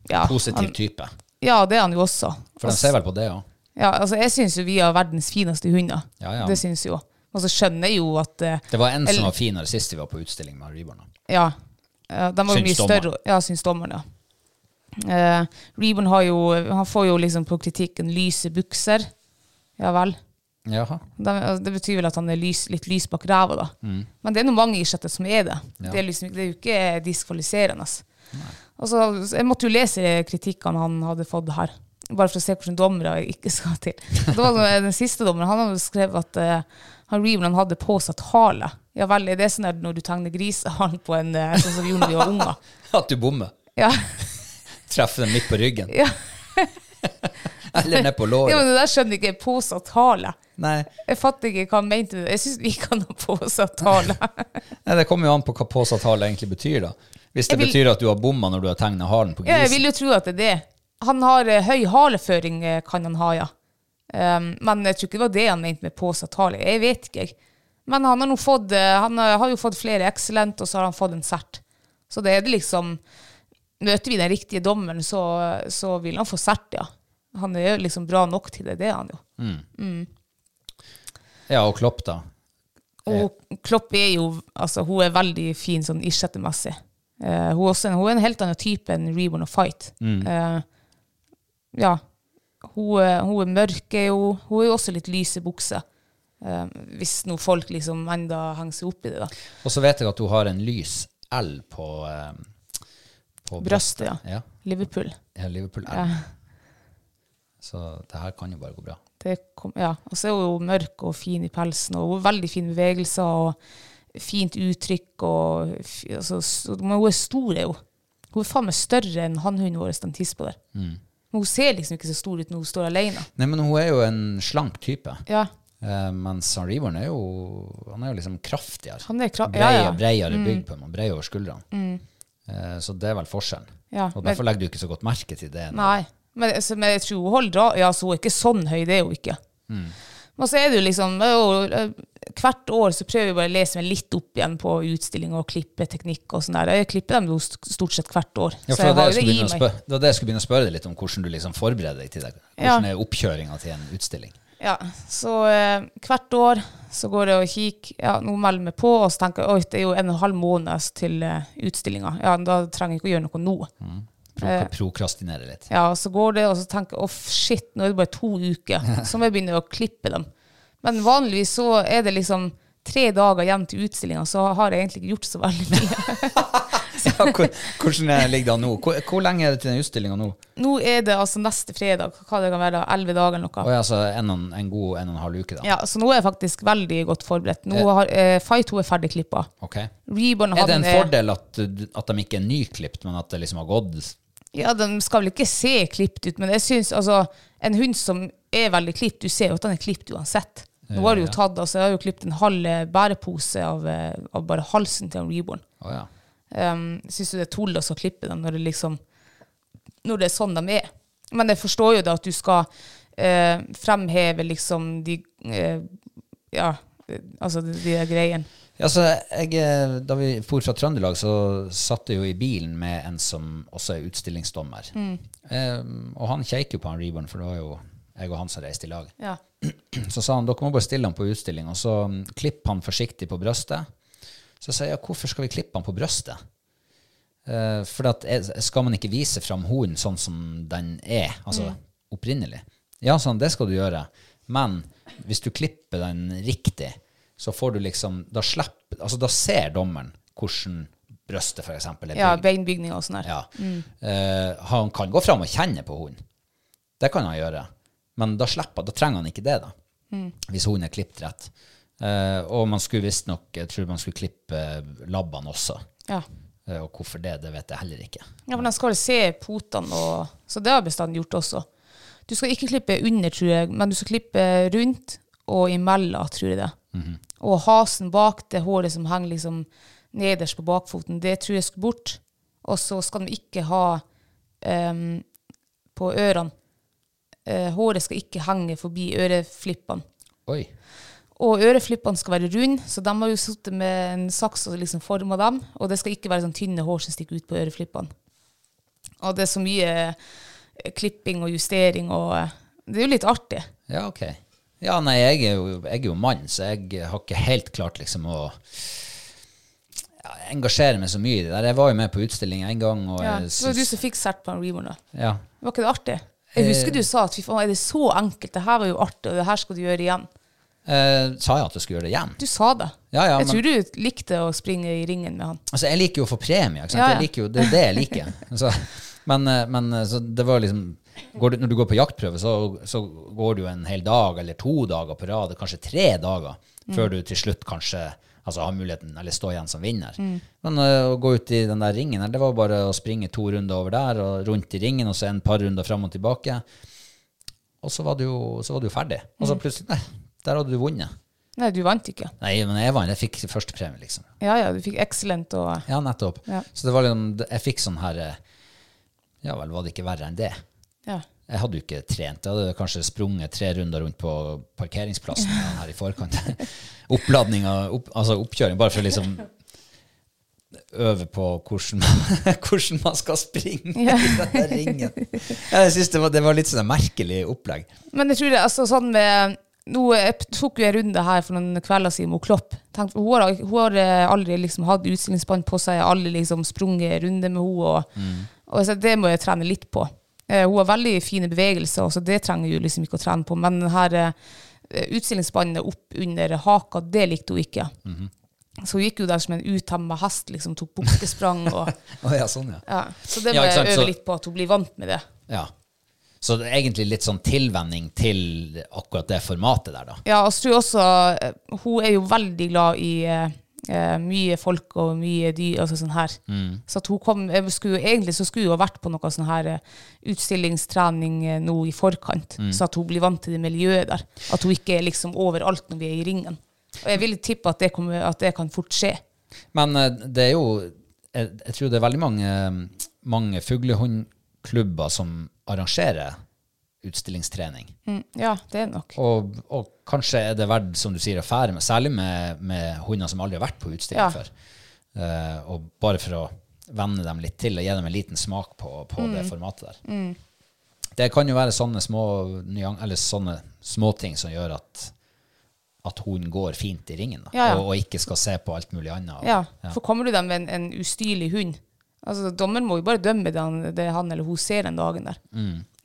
[SPEAKER 2] ja,
[SPEAKER 1] Positiv
[SPEAKER 2] han- altså-
[SPEAKER 1] type.
[SPEAKER 2] Ja, det er han jo også.
[SPEAKER 1] For de ser vel på det òg.
[SPEAKER 2] Ja, altså jeg syns jo vi har verdens fineste hunder.
[SPEAKER 1] Ja, ja.
[SPEAKER 2] Det syns jeg jo. Og så skjønner jeg jo at eh,
[SPEAKER 1] Det var en som
[SPEAKER 2] Eller-
[SPEAKER 1] var finere sist vi var på utstilling med Reborn.
[SPEAKER 2] Ja, eh, de var jo
[SPEAKER 1] Syns
[SPEAKER 2] mye
[SPEAKER 1] dommeren.
[SPEAKER 2] større. Ja, syns dommeren, ja. Eh, Reborn har jo, han får jo liksom på kritikken lyse bukser. Ja vel.
[SPEAKER 1] Jaha.
[SPEAKER 2] Da, altså, det betyr vel at han er lys, litt lys bak ræva, da. Men det er nå mange isletter som er det. Det, er liksom, det er jo ikke diskvalifiserende. Og så, så jeg måtte jo lese kritikkene han hadde fått her, bare for å se hvordan dommere jeg ikke skal til. Og Det var den siste dommeren. Han hadde skrevet at eh, han Reeveland hadde påsatt hale. Ja vel, er det sånn at når du tegner grisehalen på en eh, sånn som vi gjorde når vi var unger?
[SPEAKER 1] At du bommer.
[SPEAKER 2] Ja.
[SPEAKER 1] Treffer den midt på ryggen.
[SPEAKER 2] Ja.
[SPEAKER 1] Eller ned på låret.
[SPEAKER 2] ja, men det der skjønner ikke jeg. Påsatt hale.
[SPEAKER 1] Nei,
[SPEAKER 2] Jeg fatter ikke hva han mente med det. Jeg syns vi kan ha påsatt hale.
[SPEAKER 1] Nei, det kommer jo an på hva påsatall egentlig betyr, da. Hvis det
[SPEAKER 2] Jeg vil-
[SPEAKER 1] betyr at du har bomma når du har tegna halen på
[SPEAKER 2] Ja, jeg
[SPEAKER 1] grisen.
[SPEAKER 2] vil jo tro at det er det. Han har eh, høy haleføring, eh, kan han ha, ja. Um, men jeg tror ikke det var det han mente med påsatt hale. Jeg vet ikke, jeg. Men han har, nå fått, eh, han eh, har jo fått flere excellent, og så har han fått en sert. Så det er det liksom Møter vi den riktige dommeren, så, så vil han få sert, ja. Han er jo liksom bra nok til det, det er han jo.
[SPEAKER 1] Ja, og Klopp, da.
[SPEAKER 2] Og Klopp er jo altså, Hun er veldig fin sånn islettemessig. Eh, hun, er også en, hun er en helt annen type enn Reborn og Fight. Eh, ja. Hun, er- hun er mørk, er jo. Hun er jo også litt lys i buksa. Eh, hvis nå folk liksom enda henger seg opp i det, da.
[SPEAKER 1] Og så vet jeg at du har en lys L på, eh, på
[SPEAKER 2] Brøstet, ja.
[SPEAKER 1] Ja.
[SPEAKER 2] Liverpool.
[SPEAKER 1] Jeg har Liverpool L.
[SPEAKER 2] Ja.
[SPEAKER 1] Så det her kan jo bare gå bra.
[SPEAKER 2] Det kom, ja. Og så er hun jo mørk og fin i pelsen, og hun har veldig fine bevegelser og fint uttrykk. Og, fi- altså, s- men hun er stor, er hun. Hun er faen meg større enn hannhunden vår, den tispa der. Men hun ser liksom ikke så stor ut når hun står alene.
[SPEAKER 1] Nei, men hun er jo en slank type.
[SPEAKER 2] Ja,
[SPEAKER 1] Eh, mens han Reborn er jo Han er jo liksom kraftigere.
[SPEAKER 2] Han er kra-
[SPEAKER 1] Breie,
[SPEAKER 2] ja, Mm. ja.
[SPEAKER 1] Breiere bygd på ham, breier over skuldrene. Eh, så det er vel forskjellen.
[SPEAKER 2] Ja,
[SPEAKER 1] og
[SPEAKER 2] men-
[SPEAKER 1] derfor legger du ikke så godt merke til det. nå.
[SPEAKER 2] nei. Men, altså, men jeg tror hun holder av. Ja, så hun er ikke sånn høy, det er hun ikke.
[SPEAKER 1] Mm.
[SPEAKER 2] Men så er det jo liksom det er jo, eh, Hvert år så prøver vi bare å lese meg litt opp igjen på utstilling og klippeteknikk og sånn der. Jeg klipper dem jo st- stort sett hvert år.
[SPEAKER 1] Ja, for
[SPEAKER 2] Så
[SPEAKER 1] det,
[SPEAKER 2] jeg
[SPEAKER 1] var
[SPEAKER 2] har
[SPEAKER 1] det, jeg skulle
[SPEAKER 2] jo det i
[SPEAKER 1] begynne å
[SPEAKER 2] meg.
[SPEAKER 1] spør- det var det jeg skulle begynne å spørre deg litt om, hvordan du liksom forbereder deg til det.
[SPEAKER 2] Ja.
[SPEAKER 1] Hvordan er oppkjøringa til en utstilling?
[SPEAKER 2] Ja, så eh, hvert år så går jeg og kikker, ja, nå melder jeg meg på, og så tenker jeg, oi, det er jo en og en halv måned til eh, utstillinga, ja, da trenger jeg ikke å gjøre noe nå.
[SPEAKER 1] Pro
[SPEAKER 2] Eh.
[SPEAKER 1] prokrastinere litt.
[SPEAKER 2] Ja, og så går det, og så tenker jeg, off, shit, nå er det bare to uker, så må jeg begynne å klippe dem. Men vanligvis så er det liksom tre dager igjen til utstillinga, så har jeg egentlig ikke gjort så veldig mye.
[SPEAKER 1] Ja, hvor- hvordan er- ligger det an nå? Hvor, hvor lenge er det til den utstillinga nå?
[SPEAKER 2] Nå er det altså neste fredag, hva det kan være da, elleve dager eller noe.
[SPEAKER 1] Og altså en, og en- en god en og en halv uke, da.
[SPEAKER 2] Ja, så nå er jeg faktisk veldig godt forberedt. Nå har, eh, Fight 2 er ferdig klippa.
[SPEAKER 1] Ok.
[SPEAKER 2] Reborn eh,
[SPEAKER 1] Er det en
[SPEAKER 2] han er-
[SPEAKER 1] fordel at, at de ikke er nyklipt, men at det liksom har gått
[SPEAKER 2] Ja, de skal vel ikke se klippet ut, men jeg synes, altså, en hund som er veldig klippet, du ser jo at den er klippet uansett. Nå har du jo tatt, altså, jeg har jo klippet en halv eh, bærepose av, eh, av bare halsen til en reborn.
[SPEAKER 1] Å ja.
[SPEAKER 2] Um, synes du det er tull også å klippe dem når det liksom, når det er sånn de er. Men jeg forstår jo da at du skal eh, fremheve liksom de, eh, ja, eh, altså de, de greiene.
[SPEAKER 1] Ja, så jeg, eh, da vi for fra Trøndelag, så satt jeg jo i bilen med en som også er utstillingsdommer.
[SPEAKER 2] Mm.
[SPEAKER 1] Eh, og han kjekte jo på han Reborn, for det var jo jeg og han som reiste i lag.
[SPEAKER 2] Ja.
[SPEAKER 1] Så sa han dere må bare stille han på utstilling, og så mm, klipp han forsiktig på brøstet. Så sa jeg ja, hvorfor skal vi klippe han på brøstet? Eh, for at, eh, skal man ikke vise fram hunden sånn som den er, altså opprinnelig? Ja, sånn, det skal du gjøre. Men hvis du klipper den riktig, så får du liksom Da, slipper, altså, da ser dommeren hvordan brøstet, for eksempel, er
[SPEAKER 2] ja,
[SPEAKER 1] bygd.
[SPEAKER 2] beinbygninger og sånn her.
[SPEAKER 1] Ja. Eh, han kan gå fram og kjenne på hunden. Det kan han gjøre. Men da slipper, da trenger han ikke det, da.
[SPEAKER 2] Mm.
[SPEAKER 1] Hvis hunden er klippet rett. Eh, og man skulle visstnok Jeg tror man skulle klippe labbene også.
[SPEAKER 2] Ja.
[SPEAKER 1] Eh, og hvorfor det, det vet jeg heller ikke.
[SPEAKER 2] Ja, men de skal se potene, og, så det har bestanden gjort også. Du skal ikke klippe under, tror jeg, men du skal klippe rundt og imellom, tror jeg det. Og hasen bak det håret som henger liksom nederst på bakfoten, det tror jeg skal bort. Og så skal de ikke ha em, på ørene. Eh, håret skal ikke henge forbi øreflippene.
[SPEAKER 1] Oi.
[SPEAKER 2] Og øreflippene skal være runde, så de har jo sittet med en saks og liksom forma dem. Og det skal ikke være sånn tynne hår som stikker ut på øreflippene. Og det er så mye eh, klipping og justering og eh, Det er jo litt artig.
[SPEAKER 1] Ja, ok. Ja, nei, jeg er jo, jeg er jo mann, så jeg har ikke helt klart liksom å ja, engasjere meg så mye i det der. Jeg var jo med på utstilling en gang, og
[SPEAKER 2] Ja.
[SPEAKER 1] jeg
[SPEAKER 2] Det var jo du
[SPEAKER 1] syns
[SPEAKER 2] som fikk sett på en Reborn, da.
[SPEAKER 1] ja,
[SPEAKER 2] Var ikke det artig? Jeg husker du sa at fy faen, er det så enkelt? Det her var jo artig, og det her skal du gjøre igjen.
[SPEAKER 1] Eh, sa jeg at jeg skulle gjøre det igjen?
[SPEAKER 2] Du sa det.
[SPEAKER 1] Ja, ja,
[SPEAKER 2] jeg
[SPEAKER 1] men-
[SPEAKER 2] tror du likte å springe i ringen med han.
[SPEAKER 1] Altså, jeg liker jo å få premie. Ikke sant?
[SPEAKER 2] Ja, ja.
[SPEAKER 1] Jeg liker jo, det er det jeg liker. Så, men eh, men eh, så det var liksom går du, Når du går på jaktprøve, så, så går du en hel dag eller to dager på rad, kanskje tre dager,
[SPEAKER 2] Mm.
[SPEAKER 1] før du til slutt kanskje altså, har muligheten, eller står igjen som vinner.
[SPEAKER 2] Mm.
[SPEAKER 1] Men eh, å gå ut i den der ringen her, det var bare å springe to runder over der, og rundt i ringen, og så en par runder fram og tilbake. Og så var du jo, så var du jo ferdig. Og
[SPEAKER 2] Mm.
[SPEAKER 1] så plutselig Nei, der hadde du vunnet.
[SPEAKER 2] Nei, du vant ikke.
[SPEAKER 1] Nei, men jeg vant. Jeg fikk førstepremie, liksom.
[SPEAKER 2] Ja, ja, du fikk excellent og
[SPEAKER 1] Ja, nettopp.
[SPEAKER 2] Ja.
[SPEAKER 1] Så det var liksom, jeg fikk sånn her eh, Ja vel, var det ikke verre enn det?
[SPEAKER 2] ja.
[SPEAKER 1] Jeg hadde jo ikke trent. Jeg hadde kanskje sprunget tre runder rundt på parkeringsplassen her i forkant. Oppladninga, opp, altså oppkjøring, bare for å liksom øve på hvordan, hvordan man skal springe i denne ringen. Ja, Jeg synes det var, det var litt sånn merkelig opplegg.
[SPEAKER 2] Men jeg tror det, altså sånn med nå, Jeg tok jo en runde her for noen kvelder siden med Klopp. Tenk, hun, har, hun har eh, aldri liksom hatt utstillingsbånd på seg, jeg har aldri liksom sprunget runde med henne. Og,
[SPEAKER 1] Mm.
[SPEAKER 2] og så det må jeg trene litt på. Eh, hun har veldig fine bevegelser, så det trenger jeg jo liksom ikke å trene på. Men den her eh, utstillingsbåndet opp under haka, det likte hun ikke.
[SPEAKER 1] Mhm.
[SPEAKER 2] Så hun gikk jo der som en utemma hest, liksom tok bukkesprang og
[SPEAKER 1] Å ja, sånn, ja.
[SPEAKER 2] ja. Så det
[SPEAKER 1] Ja,
[SPEAKER 2] må
[SPEAKER 1] ikke sant,
[SPEAKER 2] jeg
[SPEAKER 1] så-
[SPEAKER 2] øve litt på, at hun blir vant med det.
[SPEAKER 1] ja. Så det er egentlig litt sånn tilvenning til akkurat det formatet der, da.
[SPEAKER 2] Ja, og så tror jeg også eh, Hun er jo veldig glad i eh, eh, mye folk og mye dyr. Altså sånn her. Så at hun kom, jeg skulle, jo- egentlig så skulle hun ha vært på noe sånn her eh, utstillingstrening eh, nå i forkant, så at hun blir vant til det miljøet der. At hun ikke er liksom overalt når vi er i ringen. Og jeg vil tippe at det, kommer, at det kan fort skje.
[SPEAKER 1] Men eh, det er jo Jeg, jeg tror det er veldig mange, mange fuglehundklubber som arrangerer utstillingstrening.
[SPEAKER 2] Mm, Ja, det er nok.
[SPEAKER 1] Og, og kanskje er det verdt, som du sier, å fære med, særlig med, med hunder som aldri har vært på utstilling
[SPEAKER 2] Ja.
[SPEAKER 1] før. Eh, og bare for å venne dem litt til og gi dem en liten smak på, på det
[SPEAKER 2] Mm.
[SPEAKER 1] formatet der. Det kan jo være sånne små nyan- eller sånne småting som gjør at, at hunden går fint i ringen, da,
[SPEAKER 2] Ja, ja.
[SPEAKER 1] Og, og ikke skal se på alt mulig annet.
[SPEAKER 2] Ja, for kommer du dem med en, en ustyrlig hund Altså, dommer må jo bare dømme det han, det han eller hun ser den dagen der.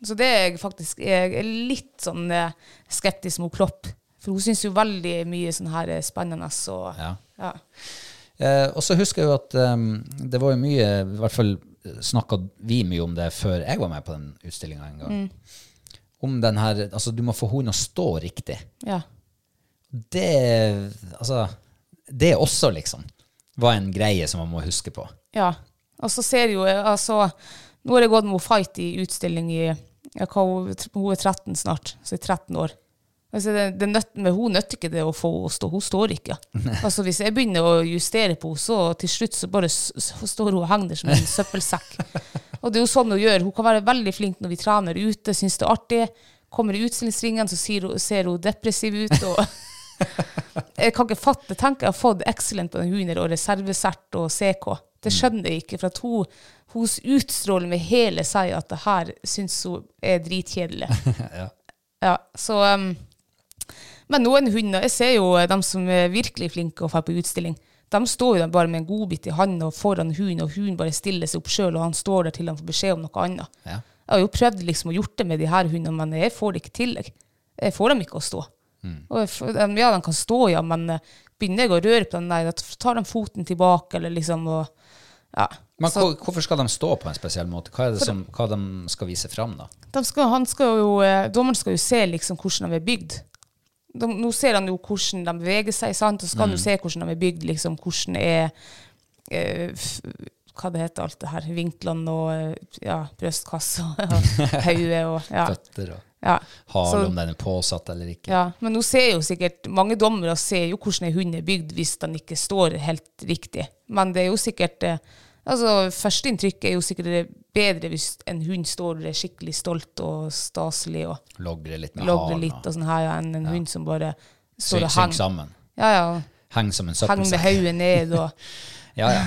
[SPEAKER 2] Så det er jeg faktisk jeg er litt sånn eh, skeptisk mot Klopp. For hun syns jo veldig mye sånn her eh, spennende og
[SPEAKER 1] Ja.
[SPEAKER 2] ja.
[SPEAKER 1] Eh, og så husker jeg jo at eh, det var jo mye, i hvert fall snakka vi mye om det før jeg var med på den utstillinga en gang.
[SPEAKER 2] Mm.
[SPEAKER 1] Om den her Altså, du må få hunden å stå riktig.
[SPEAKER 2] ja.
[SPEAKER 1] Det Altså, det også, liksom, var en greie som man må huske på.
[SPEAKER 2] Ja. Og så ser jo jeg, altså Nå har jeg gått med henne Fight i utstilling i ja, hva, hun, hun er 13 snart, så i 13 år. Altså, det, det nøtt, men hun nøtter ikke det å få henne å stå. Hun står ikke. Altså, hvis jeg begynner å justere på henne, så til slutt så bare s- så står hun og henger der som en søppelsekk. Og det er jo sånn hun gjør. Hun kan være veldig flink når vi trener ute, syns det er artig. Kommer i utstillingsringen, så sier hun, ser hun depressiv ut. og... Jeg kan ikke fatte. Tenk, jeg har fått excellent på den hunden og reservesert og CK. Det skjønner jeg ikke, for at hun, hun utstråler med hele seg at det her syns hun er dritkjedelig. ja, så um, Men noen hunder Jeg ser jo de som er virkelig flinke og drar på utstilling. De står jo der bare med en godbit i hånda og foran hunden, og hunden bare stiller seg opp sjøl, og han står der til han får beskjed om noe annet.
[SPEAKER 1] Ja.
[SPEAKER 2] Jeg har jo prøvd liksom å gjort det med de her hundene, men jeg får det ikke til. jeg. Jeg får dem ikke å stå. Og jeg får- dem- ja, de kan stå, ja, men eh, begynner jeg å røre på den, nei, da tar de foten tilbake, eller liksom, og ja.
[SPEAKER 1] Men
[SPEAKER 2] Så-
[SPEAKER 1] hvor- hvorfor skal de stå på en spesiell måte? Hva er det som, hva de skal vise fram, da?
[SPEAKER 2] de skal, han skal jo, eh, dommeren skal jo se liksom hvordan de er bygd. De, nå ser han jo hvordan de beveger seg, sant? og så skal han jo se hvordan de er bygd, liksom, hvordan er eh, f, Hva det heter alt det her? Vinklene og eh, ja, brystkasse og hodet og ja.
[SPEAKER 1] Føtter og
[SPEAKER 2] ja.
[SPEAKER 1] hale,
[SPEAKER 2] Så-
[SPEAKER 1] om den er påsatt eller ikke?
[SPEAKER 2] Ja, men nå ser jo sikkert mange dommere ser jo hvordan en hund er bygd hvis den ikke står helt riktig. Men det er jo sikkert eh, altså Førsteinntrykket er jo sikkert bedre hvis en hund står skikkelig stolt og staselig og
[SPEAKER 1] Logre litt med
[SPEAKER 2] logrer
[SPEAKER 1] halen
[SPEAKER 2] litt
[SPEAKER 1] og
[SPEAKER 2] og sånn her, ja, enn en hund som bare
[SPEAKER 1] syn-
[SPEAKER 2] står og
[SPEAKER 1] synk
[SPEAKER 2] henger.
[SPEAKER 1] sammen.
[SPEAKER 2] Ja, ja,
[SPEAKER 1] Heng som en
[SPEAKER 2] henger med
[SPEAKER 1] søppelsekk.
[SPEAKER 2] hodet ned og
[SPEAKER 1] Ja, ja.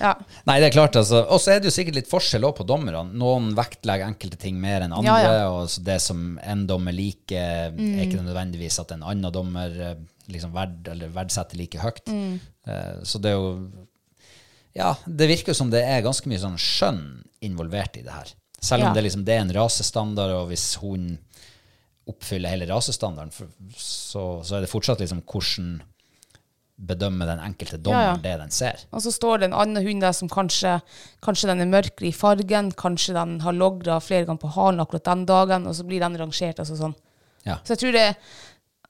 [SPEAKER 2] ja.
[SPEAKER 1] Nei, det er klart, altså. Og så er det jo sikkert litt forskjell også på dommerne. Noen vektlegger enkelte ting mer enn andre,
[SPEAKER 2] Ja, ja. Mm.
[SPEAKER 1] og så det som en dommer liker, er ikke nødvendigvis at en annen dommer eh, liksom verd, eller verdsetter like høyt.
[SPEAKER 2] Mm.
[SPEAKER 1] Eh, Så det er jo Ja, det virker jo som det er ganske mye sånn skjønn involvert i det her. Selv om
[SPEAKER 2] Ja.
[SPEAKER 1] det, liksom, det er en rasestandard, og hvis hunden oppfyller hele rasestandarden, for, så, så er det fortsatt liksom hvordan bedømmer den enkelte dommer
[SPEAKER 2] Ja, ja.
[SPEAKER 1] det den ser.
[SPEAKER 2] Og så står det en annen hund der som kanskje, kanskje den er mørkere i fargen, kanskje den har logra flere ganger på halen akkurat den dagen, og så blir den rangert. altså sånn.
[SPEAKER 1] Ja.
[SPEAKER 2] Så jeg tror det,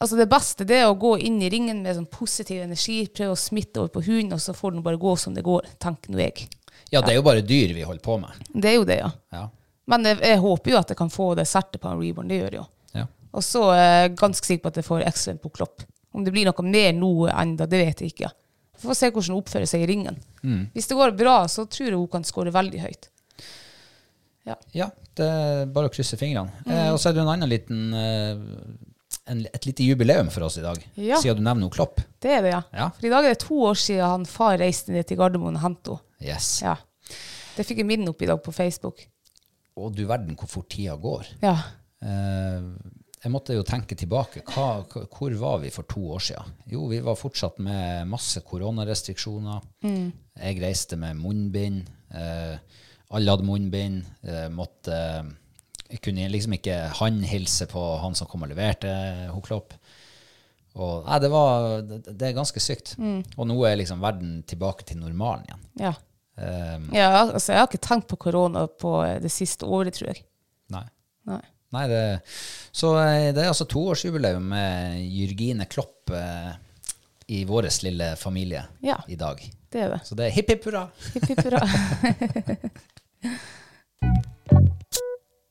[SPEAKER 2] altså det beste det er å gå inn i ringen med sånn positiv energi, prøve å smitte over på hunden, og så får den bare gå som det går, tenker nå jeg.
[SPEAKER 1] ja, det er jo bare dyr vi holder på med.
[SPEAKER 2] Det er jo det, ja.
[SPEAKER 1] Ja.
[SPEAKER 2] Men jeg, jeg håper jo at jeg kan få det sertet på en reborn, det gjør jeg jo.
[SPEAKER 1] Ja.
[SPEAKER 2] Og så er jeg ganske sikker på at jeg får excellent på klopp. Om det blir noe mer nå enda, det vet jeg ikke. Vi får se hvordan hun oppfører seg i ringen. Hvis det går bra, så tror jeg hun kan skåre veldig høyt.
[SPEAKER 1] Ja, det er bare å krysse fingrene.
[SPEAKER 2] Mm.
[SPEAKER 1] Eh, og så er det jo en annen liten eh, en, Et lite jubileum for oss i dag,
[SPEAKER 2] Ja.
[SPEAKER 1] siden du nevner noe Klopp.
[SPEAKER 2] Det er det, ja.
[SPEAKER 1] Ja.
[SPEAKER 2] For i dag er det to år siden han far reiste ned til Gardermoen og hentet henne.
[SPEAKER 1] Yes.
[SPEAKER 2] Ja. Det fikk jeg minne opp i dag på Facebook.
[SPEAKER 1] Og du verden hvor fort tida går.
[SPEAKER 2] Ja.
[SPEAKER 1] Eh, jeg måtte jo tenke tilbake. Hva, hva- hvor var vi for to år siden? Jo, vi var fortsatt med masse koronarestriksjoner. Jeg reiste med munnbind. Eh, alle hadde munnbind. Eh, måtte, jeg kunne liksom ikke håndhilse på han som kom og leverte hun Klopp. Og, nei, det, var, det, det er ganske sykt. Og nå er liksom verden tilbake til normalen igjen.
[SPEAKER 2] Ja.
[SPEAKER 1] Eh,
[SPEAKER 2] ja, altså jeg har ikke tenkt på korona på eh, det siste året, tror jeg.
[SPEAKER 1] nei.
[SPEAKER 2] Nei.
[SPEAKER 1] Nei, det, så eh, det er altså toårsjubileum med Jørgine Klopp eh, i vår lille familie
[SPEAKER 2] Ja.
[SPEAKER 1] i dag.
[SPEAKER 2] Det er det.
[SPEAKER 1] Så det er hipp hipp hurra.
[SPEAKER 2] Hipp, hipp,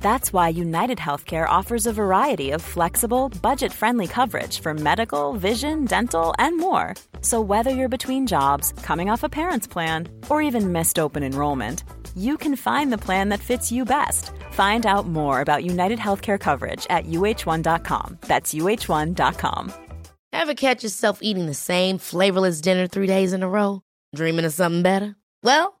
[SPEAKER 3] That's why United Healthcare offers a variety of flexible, budget friendly coverage for medical, vision, dental, and more. So, whether you're between jobs, coming off a parent's plan, or even missed open enrollment, you can find the plan that fits you best. Find out more about United Healthcare coverage at uh1.com. That's uh1.com.
[SPEAKER 4] Ever catch yourself eating the same flavorless dinner three days in a row? Dreaming of something better? Well,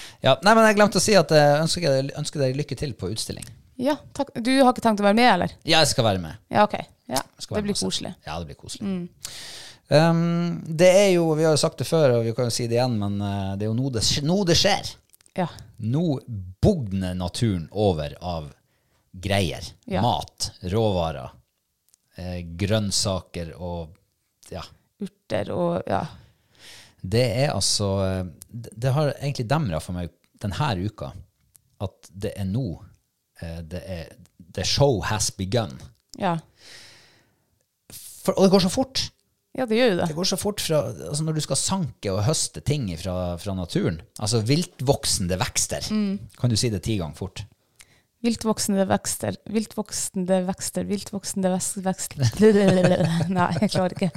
[SPEAKER 1] Ja, nei, men jeg glemte å si at jeg ønsker, deg- ønsker dere lykke til på utstilling.
[SPEAKER 2] Ja, takk. Du har ikke tenkt å være med, eller?
[SPEAKER 1] Ja, jeg skal være med.
[SPEAKER 2] Ja, ok. Ja,
[SPEAKER 1] Jeg skal
[SPEAKER 2] det
[SPEAKER 1] være
[SPEAKER 2] blir
[SPEAKER 1] med og se.
[SPEAKER 2] koselig. Mm.
[SPEAKER 1] Ja, det blir koselig. Um, det er jo, vi har jo sagt det før, og vi kan jo si det igjen, men eh, det er jo nå det, sk- nå det skjer.
[SPEAKER 2] Ja.
[SPEAKER 1] Nå bugner naturen over av greier.
[SPEAKER 2] Ja.
[SPEAKER 1] Mat, råvarer, eh, grønnsaker og Ja.
[SPEAKER 2] Urter og ja.
[SPEAKER 1] Det er altså eh, Det det har egentlig demra for meg denne uka at det er nå eh, det er The show has begun.
[SPEAKER 2] Ja,
[SPEAKER 1] For, og det går så fort!
[SPEAKER 2] ja det gjør jo
[SPEAKER 1] Det
[SPEAKER 2] det.
[SPEAKER 1] går så fort fra, altså når du skal sanke og høste ting fra, fra naturen. Altså viltvoksende vekster. Kan du si det ti ganger fort?
[SPEAKER 2] Viltvoksende vekster, viltvoksende vekster, viltvoksende veks- vekster Nei, jeg klarer ikke.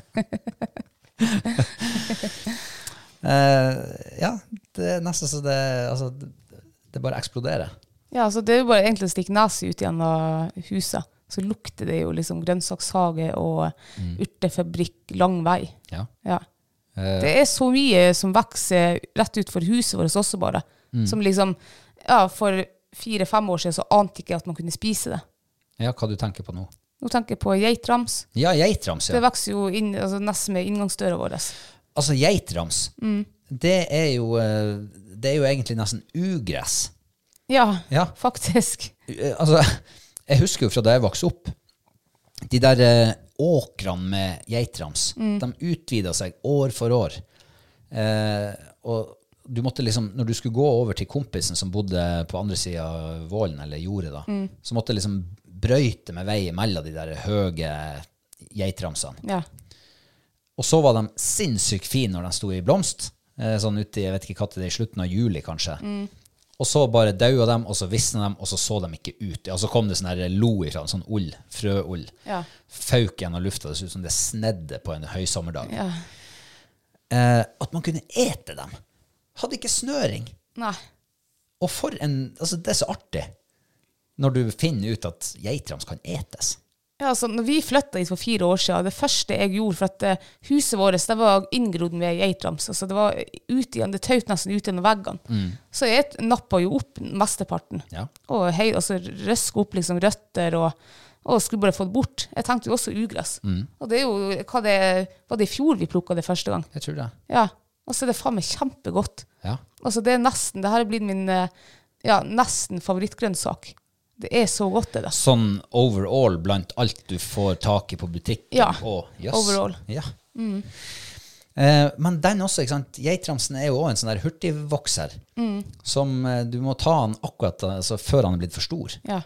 [SPEAKER 1] Eh, ja, det er nesten så det Altså, det, det bare eksploderer.
[SPEAKER 2] Ja, så Det er jo bare egentlig å stikke nesa ut gjennom huset. Så lukter det jo liksom grønnsakshage og
[SPEAKER 1] Mm.
[SPEAKER 2] urtefabrikk lang vei.
[SPEAKER 1] Ja.
[SPEAKER 2] Ja. Det er så mye som vokser rett utfor huset vårt også, bare. Som liksom Ja, for fire-fem år siden så ante jeg ikke at man kunne spise det.
[SPEAKER 1] ja, hva du tenker på nå?
[SPEAKER 2] Nå tenker jeg på geitrams.
[SPEAKER 1] Ja, geitrams,
[SPEAKER 2] Det
[SPEAKER 1] ja.
[SPEAKER 2] vokser jo inn, altså nesten med inngangsdøra vår.
[SPEAKER 1] Altså, geitrams, det er jo eh, Det er jo egentlig nesten ugress.
[SPEAKER 2] Ja,
[SPEAKER 1] Ja.
[SPEAKER 2] faktisk.
[SPEAKER 1] Eh, Altså, jeg husker jo fra da jeg vokste opp, de der eh, åkrene med geitrams, de utvida seg år for år. Eh, og du måtte liksom, når du skulle gå over til kompisen som bodde på andre sida av vålen, eller jordet, da, så måtte du liksom brøyte med vei mellom de der høye geitramsene.
[SPEAKER 2] Ja.
[SPEAKER 1] Og så var de
[SPEAKER 2] Mm.
[SPEAKER 1] sinnssykt fine når de sto i blomst. Eh, sånn uti, jeg vet ikke hva det er, i slutten av juli kanskje. Og så bare daua de, og så visna de, og så så de ikke ut. Og så kom det sånn her lo ifra en sånn ull, frøull.
[SPEAKER 2] Ja.
[SPEAKER 1] Fauk gjennom lufta. Det så ut som det snedde på en høysommerdag.
[SPEAKER 2] Ja.
[SPEAKER 1] Eh, at man kunne ete dem. Hadde ikke snøring.
[SPEAKER 2] Nei.
[SPEAKER 1] Og for en Altså, det er så artig når du finner ut at geitrams kan etes.
[SPEAKER 2] Ja, altså, når vi flytta hit for fire år siden, det første jeg gjorde for at eh, Huset vårt det var inngrodd med geitrams. Altså, det var ute igjen, det tøt nesten ut gjennom veggene. Så jeg nappa jo opp mesteparten.
[SPEAKER 1] Ja.
[SPEAKER 2] Og hei, altså, røska opp liksom, røtter og, og skulle bare få det bort. Jeg tenkte jo også ugress. Og det er jo hva det Var det i fjor vi plukka det første gang?
[SPEAKER 1] Jeg tror det.
[SPEAKER 2] Ja. Og så er det faen meg kjempegodt.
[SPEAKER 1] Ja.
[SPEAKER 2] Altså, det er nesten Det her er blitt min eh, ja, nesten favorittgrønnsak. Det er så godt, det. da.
[SPEAKER 1] Sånn overall blant alt du får tak i på butikken.
[SPEAKER 2] Ja,
[SPEAKER 1] Og, jøss.
[SPEAKER 2] overall. Mm.
[SPEAKER 1] Ja. Eh, men den også, ikke sant? Geitramsen er jo også en sånn der hurtigvokser
[SPEAKER 2] Mm.
[SPEAKER 1] som eh, du må ta han akkurat altså, før han er blitt for stor.
[SPEAKER 2] Ja.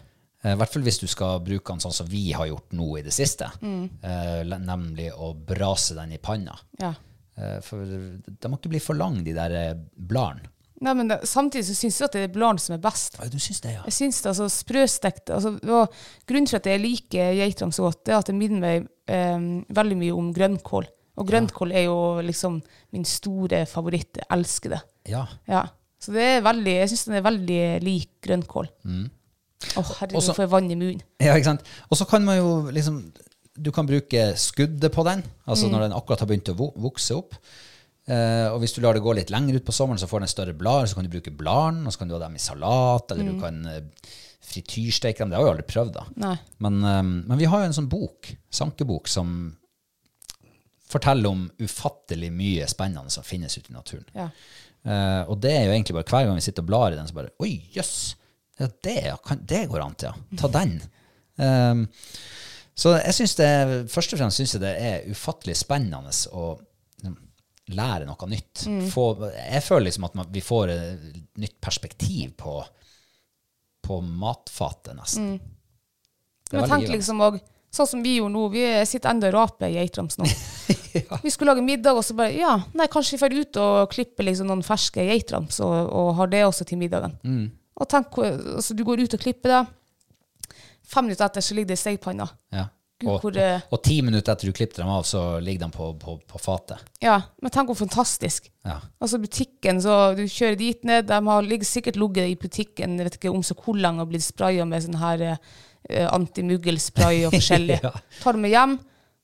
[SPEAKER 1] Eh, I hvert fall hvis du skal bruke den sånn som vi har gjort nå i det siste.
[SPEAKER 2] Mm.
[SPEAKER 1] Eh, le- nemlig å brase den i panna.
[SPEAKER 2] ja.
[SPEAKER 1] Eh, for de må ikke bli for lang, de der eh, bladene.
[SPEAKER 2] Nei, men det, samtidig så syns jeg at det er bladen som er best.
[SPEAKER 1] Ja, Du syns det, ja?
[SPEAKER 2] Jeg syns det, altså sprøstekt altså, det var- Grunnen til at jeg liker geitrams så godt, det er at det minner meg eh, veldig mye om grønnkål. Og grønnkål er jo liksom min store favoritt. Jeg elsker det.
[SPEAKER 1] Ja.
[SPEAKER 2] Ja. Så det er veldig, jeg syns den er veldig lik grønnkål. Å, herregud,
[SPEAKER 1] Også-
[SPEAKER 2] får jeg vann i munnen.
[SPEAKER 1] Ja, ikke sant? Og så kan man jo liksom Du kan bruke skuddet på den, altså når den akkurat har begynt å vo- vokse opp. Eh, og hvis du lar det gå litt lenger ut på sommeren, så får den større blader, så kan du bruke bladene, og så kan du ha dem i salat, eller du kan eh, frityrsteke dem. Det har vi aldri prøvd, da.
[SPEAKER 2] Nei.
[SPEAKER 1] Men, eh, men vi har jo en sånn bok, sankebok, som forteller om ufattelig mye spennende som finnes ute i naturen.
[SPEAKER 2] Ja.
[SPEAKER 1] Eh, og det er jo egentlig bare hver gang vi sitter og blar i den, så bare Oi, jøss! Ja, det, ja, kan, det går an til, ja. Ta den. Um, så jeg synes det, først og fremst syns jeg det er ufattelig spennende å liksom, lære noe nytt.
[SPEAKER 2] Mm.
[SPEAKER 1] Få, jeg føler liksom at man, vi får et nytt perspektiv på, på matfatet, nesten. Det er
[SPEAKER 2] Mm. Men
[SPEAKER 1] veldig
[SPEAKER 2] tenk
[SPEAKER 1] givende.
[SPEAKER 2] liksom og, Sånn som vi gjorde nå, vi sitter enda og raper geitrams nå. Vi skulle lage middag, og så bare Ja, nei, kanskje vi drar ut og klipper liksom noen ferske geitrams og, og har det også til middagen.
[SPEAKER 1] Mm.
[SPEAKER 2] Og tenk, hvor- altså, du går ut og klipper det. Fem minutter etter så ligger det i stekepanna.
[SPEAKER 1] Ja.
[SPEAKER 2] Gud,
[SPEAKER 1] Og,
[SPEAKER 2] hvor
[SPEAKER 1] og,
[SPEAKER 2] eh, det-
[SPEAKER 1] og ti minutter etter du klippet dem av, så ligger de på, på, på fatet.
[SPEAKER 2] Ja, men tenk hvor fantastisk.
[SPEAKER 1] Ja.
[SPEAKER 2] Altså butikken, så du kjører dit ned, de har ligger sikkert ligget i butikken, jeg vet ikke om så hvor lenge, og blitt sprayet med sånn her eh, antimuggelspray og forskjellig.
[SPEAKER 1] Ja.
[SPEAKER 2] Tar dem med hjem,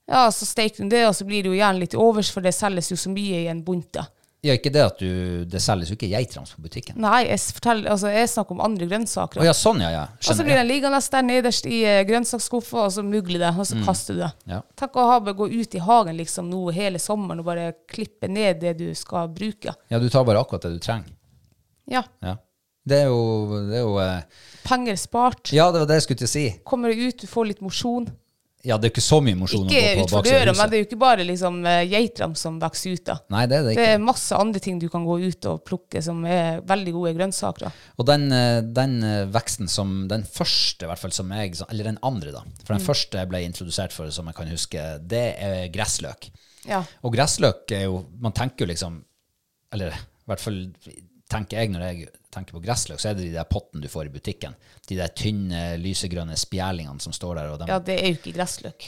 [SPEAKER 2] ja, så steker de det, og så blir det jo gjerne litt overs, for det selges jo så mye i en bunte.
[SPEAKER 1] Ja, ikke det at du, det selges jo ikke geitrams på butikken.
[SPEAKER 2] Nei, jeg, s- forteller, altså, jeg snakker om andre grønnsaker.
[SPEAKER 1] Å ja, sånn, ja, ja.
[SPEAKER 2] og så blir
[SPEAKER 1] Skjønner.
[SPEAKER 2] den liggende der nederst i eh, grønnsakskuffa, og så mugler det, og så kaster du det.
[SPEAKER 1] Mm. Ja.
[SPEAKER 2] Tenk å ha, bare gå ut i hagen liksom nå hele sommeren og bare klippe ned det du skal bruke.
[SPEAKER 1] Ja. ja, du tar bare akkurat det du trenger.
[SPEAKER 2] Ja,
[SPEAKER 1] Ja. Det er jo, det er jo eh,
[SPEAKER 2] penger spart.
[SPEAKER 1] Ja, det var det jeg skulle til å si.
[SPEAKER 2] kommer det ut, du får litt mosjon.
[SPEAKER 1] Ja, det er jo ikke så mye mosjon å
[SPEAKER 2] Ikke
[SPEAKER 1] gå på
[SPEAKER 2] utfor
[SPEAKER 1] baksida av
[SPEAKER 2] døra, men
[SPEAKER 1] huset.
[SPEAKER 2] det er jo ikke bare liksom, eh, geitrams som vokser ut. da.
[SPEAKER 1] Nei, det er det
[SPEAKER 2] Det er
[SPEAKER 1] ikke.
[SPEAKER 2] masse andre ting du kan gå ut og plukke som er veldig gode grønnsaker. da.
[SPEAKER 1] Og den, eh, den eh, veksten som den første, i hvert fall som jeg så- Eller den andre, da. For den
[SPEAKER 2] Mm.
[SPEAKER 1] første jeg ble introdusert for, som jeg kan huske, det er gressløk.
[SPEAKER 2] Ja.
[SPEAKER 1] Og gressløk er jo Man tenker jo liksom Eller i hvert fall tenker jeg når jeg tenker på gressløk, så er det de der pottene du får i butikken. De der tynne, lysegrønne spjælingene som står der. Og dem.
[SPEAKER 2] ja, det er jo ikke gressløk.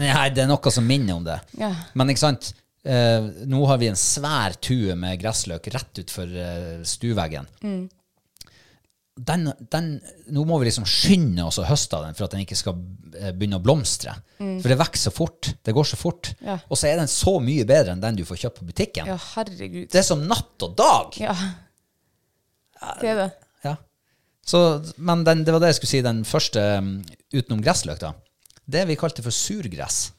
[SPEAKER 1] Nei, det er noe som minner om det.
[SPEAKER 2] Ja.
[SPEAKER 1] Men ikke sant, eh, nå har vi en svær tue med gressløk rett utfor eh, stueveggen.
[SPEAKER 2] Mm.
[SPEAKER 1] Den, den, nå må vi liksom skynde oss å høste av den for at den ikke skal eh, begynne å blomstre. For det vokser så fort. Det går så fort.
[SPEAKER 2] Mm. Ja.
[SPEAKER 1] Og så er den så mye bedre enn den du får kjøpt på butikken.
[SPEAKER 2] Ja, herregud.
[SPEAKER 1] Det er som natt og dag!
[SPEAKER 2] Ja. Det er det.
[SPEAKER 1] Ja. Så, men den, det var det jeg skulle si, den første um, utenom gressløk, da. Det vi kalte for surgress.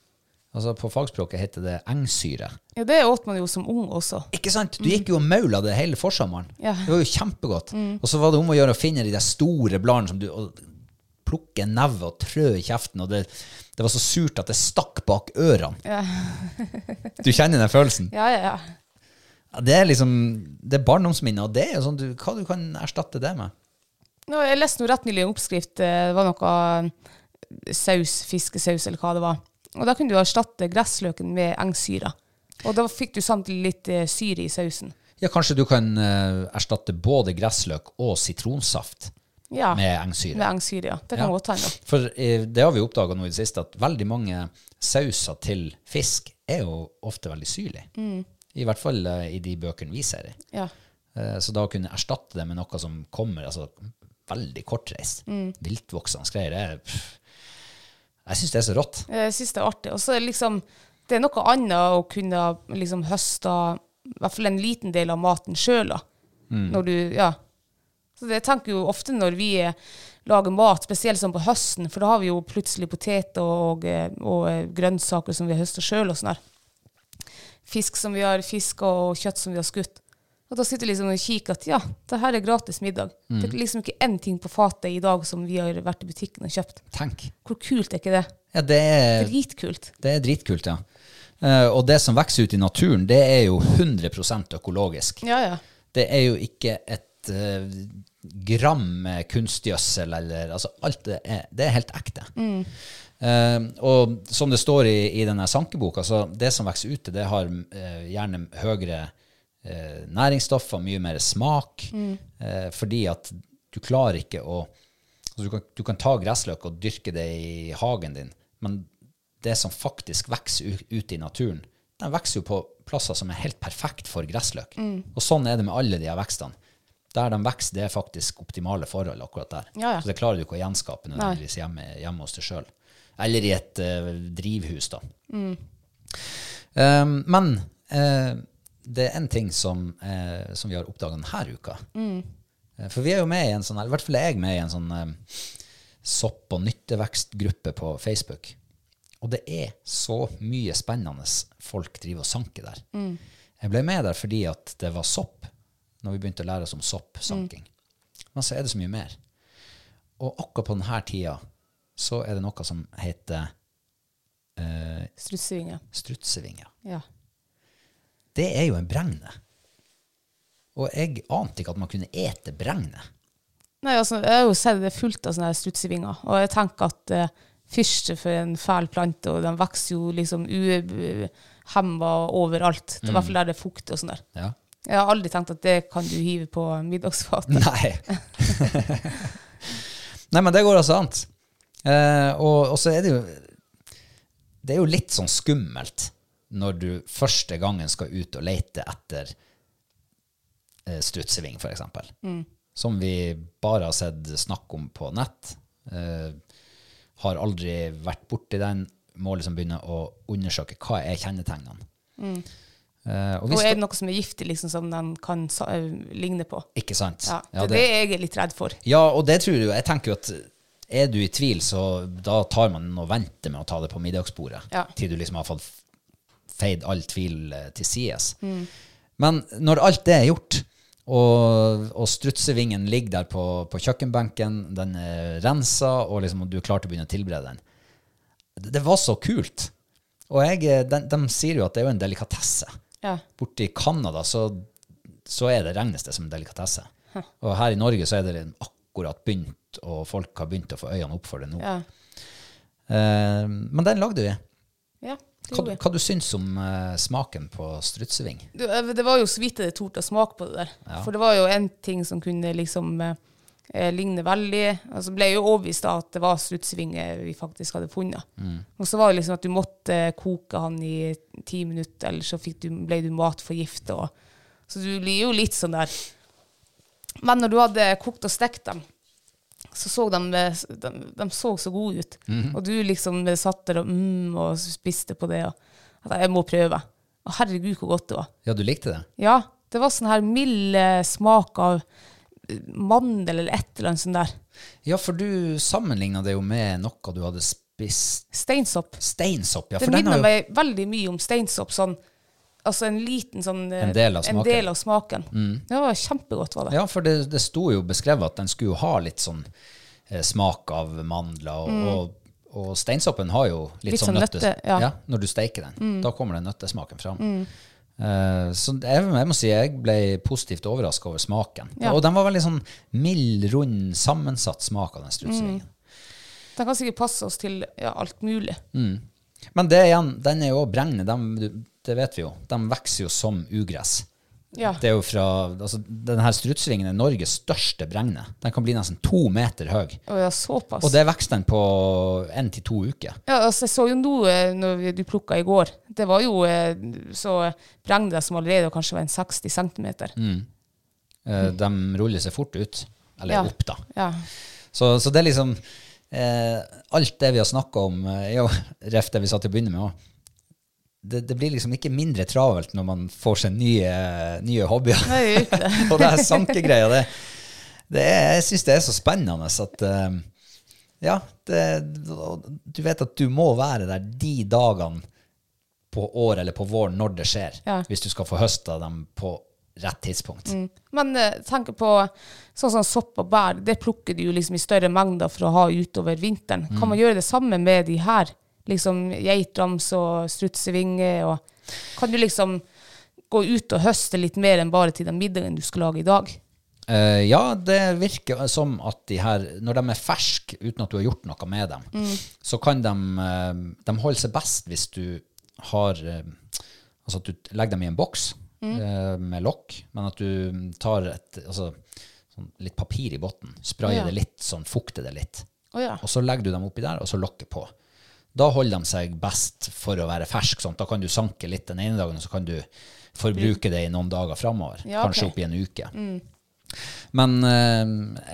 [SPEAKER 1] Altså På fagspråket heter det engsyre.
[SPEAKER 2] Ja, det åt man jo som ung også.
[SPEAKER 1] Ikke sant? Du gikk jo og maula det hele forsommeren.
[SPEAKER 2] Ja.
[SPEAKER 1] Det var jo kjempegodt. Og så var det om å gjøre å finne de der store bladene som du og plukke en neve og trø i kjeften, og det, det var så surt at det stakk bak ørene. du kjenner den følelsen?
[SPEAKER 2] Ja, ja, ja.
[SPEAKER 1] Ja, Det er liksom, det er barndomsminner, og det er jo sånn, du, hva du kan erstatte det med?
[SPEAKER 2] Nå, jeg leste noe rett nylig en oppskrift. eh, Det var noe eh, saus, fiskesaus eller hva det var. Og da kunne du erstatte gressløken med engsyre. Og da fikk du samtidig litt eh, syre i sausen.
[SPEAKER 1] Ja, kanskje du kan eh, erstatte både gressløk og sitronsaft
[SPEAKER 2] Ja,
[SPEAKER 1] med engsyre.
[SPEAKER 2] med engsyre. Ja. Det kan
[SPEAKER 1] Ja.
[SPEAKER 2] godt hende.
[SPEAKER 1] For eh, det har vi oppdaga nå i det siste, at veldig mange sauser til fisk er jo ofte veldig syrlige.
[SPEAKER 2] Mm.
[SPEAKER 1] I hvert fall eh, i de bøkene vi ser i.
[SPEAKER 2] Ja.
[SPEAKER 1] Eh, Så da å kunne erstatte det med noe som kommer altså, veldig kortreist,
[SPEAKER 2] Mm.
[SPEAKER 1] viltvoksende greier, det er- pff, jeg syns det er så rått.
[SPEAKER 2] Jeg syns Eh, det er artig. Og så er det liksom Det er noe annet å kunne liksom høste i hvert fall en liten del av maten sjøl, da. Når du Ja. Så det tenker jo ofte når vi eh, lager mat, spesielt sånn på høsten, for da har vi jo plutselig poteter og, eh, og eh, grønnsaker som vi har høsta sjøl, og sånn her. Fisk som vi har fiska, og kjøtt som vi har skutt. Og da sitter jeg liksom og kikker at ja, det her er gratis middag. Det er liksom ikke én ting på fatet i dag som vi har vært i butikken og kjøpt.
[SPEAKER 1] Tenk.
[SPEAKER 2] Hvor kult er ikke det?
[SPEAKER 1] Ja, det er,
[SPEAKER 2] Dritkult.
[SPEAKER 1] det er dritkult, ja. Eh, Og det som vokser ut i naturen, det er jo 100 økologisk.
[SPEAKER 2] Ja, ja.
[SPEAKER 1] Det er jo ikke et eh, gram med kunstgjødsel eller altså alt det er, det er helt ekte. Eh, og som det står i, i denne sankeboka, så det som vokser ute, det har eh, gjerne høyere eh, næringsstoffer, mye mer smak,
[SPEAKER 2] Mm.
[SPEAKER 1] eh, fordi at du klarer ikke å altså du, kan, du kan ta gressløk og dyrke det i hagen din, men det som faktisk vokser u- ute i naturen, den vokser jo på plasser som er helt perfekt for gressløk.
[SPEAKER 2] Mm.
[SPEAKER 1] Og sånn er det med alle de her vekstene. Der de vokser, det er faktisk optimale forhold akkurat der.
[SPEAKER 2] Ja, ja.
[SPEAKER 1] Så det klarer du ikke å gjenskape nødvendigvis hjemme, hjemme hos deg sjøl. Eller i et eh, drivhus, da. Um, men eh, det er en ting som, eh, som vi har oppdaga denne uka. Eh, For vi er jo med i en sånn, eller i hvert fall er jeg med i en sånn eh, sopp- og nyttevekstgruppe på Facebook. Og det er så mye spennende folk driver og sanker der. Jeg ble med der fordi at det var sopp, når vi begynte å lære oss om soppsanking. Men så er det så mye mer. Og akkurat på denne tida så er det noe som heter eh,
[SPEAKER 2] Strutsevinger.
[SPEAKER 1] strutsevinger.
[SPEAKER 2] Ja.
[SPEAKER 1] Det er jo en bregne. Og jeg ante ikke at man kunne ete bregne.
[SPEAKER 2] Nei, altså, jeg har jo sett det fullt av sånne her strutsevinger, og jeg tenker at uh, fyrste for en fæl plante, og den vokser jo liksom uhemma overalt. Det er I
[SPEAKER 1] Mm.
[SPEAKER 2] hvert fall der det er fukt og sånn der.
[SPEAKER 1] Ja.
[SPEAKER 2] Jeg har aldri tenkt at det kan du hive på middagsfatet.
[SPEAKER 1] Nei. Nei, men det går altså an. Eh, og, og så er det jo Det er jo litt sånn skummelt når du første gangen skal ut og lete etter eh, strutseving, f.eks. Mm. Som vi bare har sett snakk om på nett. Eh, har aldri vært borti den. Må liksom begynne å undersøke hva er kjennetegnene. Eh, og
[SPEAKER 2] Mm. Og
[SPEAKER 1] hvis
[SPEAKER 2] er det noe som er giftig, liksom, som den kan sa- eh, ligne på?
[SPEAKER 1] Ikke sant?
[SPEAKER 2] Ja, det
[SPEAKER 1] Ja,
[SPEAKER 2] er det jeg er litt redd for.
[SPEAKER 1] Ja, og det tror jeg. Jeg tenker jo at er du i tvil, så da tar man og venter med å ta det på middagsbordet.
[SPEAKER 2] Ja.
[SPEAKER 1] Til du liksom har fått feid all tvil eh, til sides. Men når alt det er gjort, og, og strutsevingen ligger der på, på kjøkkenbenken, den er rensa, og liksom du er klar til å begynne å tilberede den Det, det var så kult. Og jeg, eh, de, de sier jo at det er jo en delikatesse.
[SPEAKER 2] Ja.
[SPEAKER 1] Borte i Canada så, så er det regnes det som en delikatesse. Og her i Norge så er det liksom akkurat begynt, og folk har begynt å få øynene opp for det nå.
[SPEAKER 2] Ja.
[SPEAKER 1] Eh, men den lagde vi.
[SPEAKER 2] ja det
[SPEAKER 1] Hva,
[SPEAKER 2] gjorde jeg.
[SPEAKER 1] hva du syns om eh, smaken på strutseving?
[SPEAKER 2] Du, eh, det var jo så vidt jeg torde å smake på det der. For det var jo en ting som kunne liksom eh, eh, ligne veldig. Og så ble jeg jo overbevist av at det var strutsvinger vi faktisk hadde funnet. Og så var det liksom at du måtte eh, koke han i ti minutter, ellers så fikk du, ble du matforgifta. Så du blir jo litt sånn der. Men når du hadde kokt og stekt dem, så så eh, de, de, de så så gode ut. Og du liksom satt der og, mm, og spiste på det. Og at jeg må prøve. Og herregud, hvor godt det var.
[SPEAKER 1] Ja, du likte det?
[SPEAKER 2] Ja, det var sånn her mild eh, smak av eh, mandel eller et eller annet sånt der.
[SPEAKER 1] Ja, for du sammenligna det jo med noe du hadde spist
[SPEAKER 2] Steinsopp.
[SPEAKER 1] Steinsopp, ja.
[SPEAKER 2] Det
[SPEAKER 1] For den
[SPEAKER 2] minner
[SPEAKER 1] har jo
[SPEAKER 2] meg veldig mye om steinsopp. sånn, Altså en liten sånn eh,
[SPEAKER 1] En del av smaken. Mm.
[SPEAKER 2] del av smaken. Det var kjempegodt, var det.
[SPEAKER 1] Ja, for det, det sto jo beskrevet at den skulle jo ha litt sånn eh, smak av mandler. Og, og, og steinsoppen har jo litt,
[SPEAKER 2] Mm. Litt
[SPEAKER 1] sånn
[SPEAKER 2] sånn
[SPEAKER 1] nøttes...
[SPEAKER 2] nøtte, ja. Mm.
[SPEAKER 1] når du steiker den. Da kommer den nøttesmaken fram. Eh, så det- jeg, jeg må si jeg ble positivt overraska over smaken.
[SPEAKER 2] Ja.
[SPEAKER 1] Og den var veldig sånn mild, rund, sammensatt smak av den
[SPEAKER 2] Mm.
[SPEAKER 1] strutsevingen.
[SPEAKER 2] Den kan sikkert passe oss til ja, alt mulig.
[SPEAKER 1] Mm. Men det igjen, den er jo også bregne, dem- det vet vi jo. De vokser jo som ugress.
[SPEAKER 2] Ja.
[SPEAKER 1] Det er jo fra, altså, denne strutsvingen er Norges største bregne. Den kan bli nesten to meter høy.
[SPEAKER 2] Å ja, såpass.
[SPEAKER 1] Og det vokser den på én til to uker.
[SPEAKER 2] Ja, altså, jeg så jo nå eh, når vi- du plukka i går, det var jo eh, så bregner som allerede kanskje var en 60 cm.
[SPEAKER 1] Mm. Eh, De ruller seg fort ut. Eller
[SPEAKER 2] Ja.
[SPEAKER 1] opp, da.
[SPEAKER 2] Ja.
[SPEAKER 1] Så, så det er liksom eh, Alt det vi har snakka om, eh, er jo ref det vi sa til å begynne med òg. Det, det blir liksom ikke mindre travelt når man får seg nye, nye hobbyer.
[SPEAKER 2] Nei, det er jo ikke det.
[SPEAKER 1] og det her sankegreia, det, det er, jeg syns det er så spennende at eh, Ja, det, og du vet at du må være der de dagene på året eller på våren når det skjer,
[SPEAKER 2] Ja.
[SPEAKER 1] hvis du skal få høsta dem på rett tidspunkt.
[SPEAKER 2] Men eh, tenk på sånn som sopp og bær, det plukker du jo liksom i større mengder for å ha utover vinteren. Kan man gjøre det samme med de her? Liksom geitrams og strutsevinger og Kan du liksom gå ut og høste litt mer enn bare til den middagen du skal lage i dag?
[SPEAKER 1] Eh, ja, det virker som at de her, når de er ferske uten at du har gjort noe med dem, så kan de, eh, de holde seg best hvis du har eh, Altså at du legger dem i en boks eh, med lokk, men at du tar et, altså, sånn litt papir i bunnen, sprayer
[SPEAKER 2] Ja.
[SPEAKER 1] det litt, sånn fukter det litt.
[SPEAKER 2] Å ja.
[SPEAKER 1] Og så legger du dem oppi der, og så lokket på. Da holder de seg best for å være fersk. Sånn. Da kan du sanke litt den ene dagen, og så kan du forbruke det i noen dager framover.
[SPEAKER 2] Ja, ok. Mm.
[SPEAKER 1] Kanskje oppi en uke. Men eh,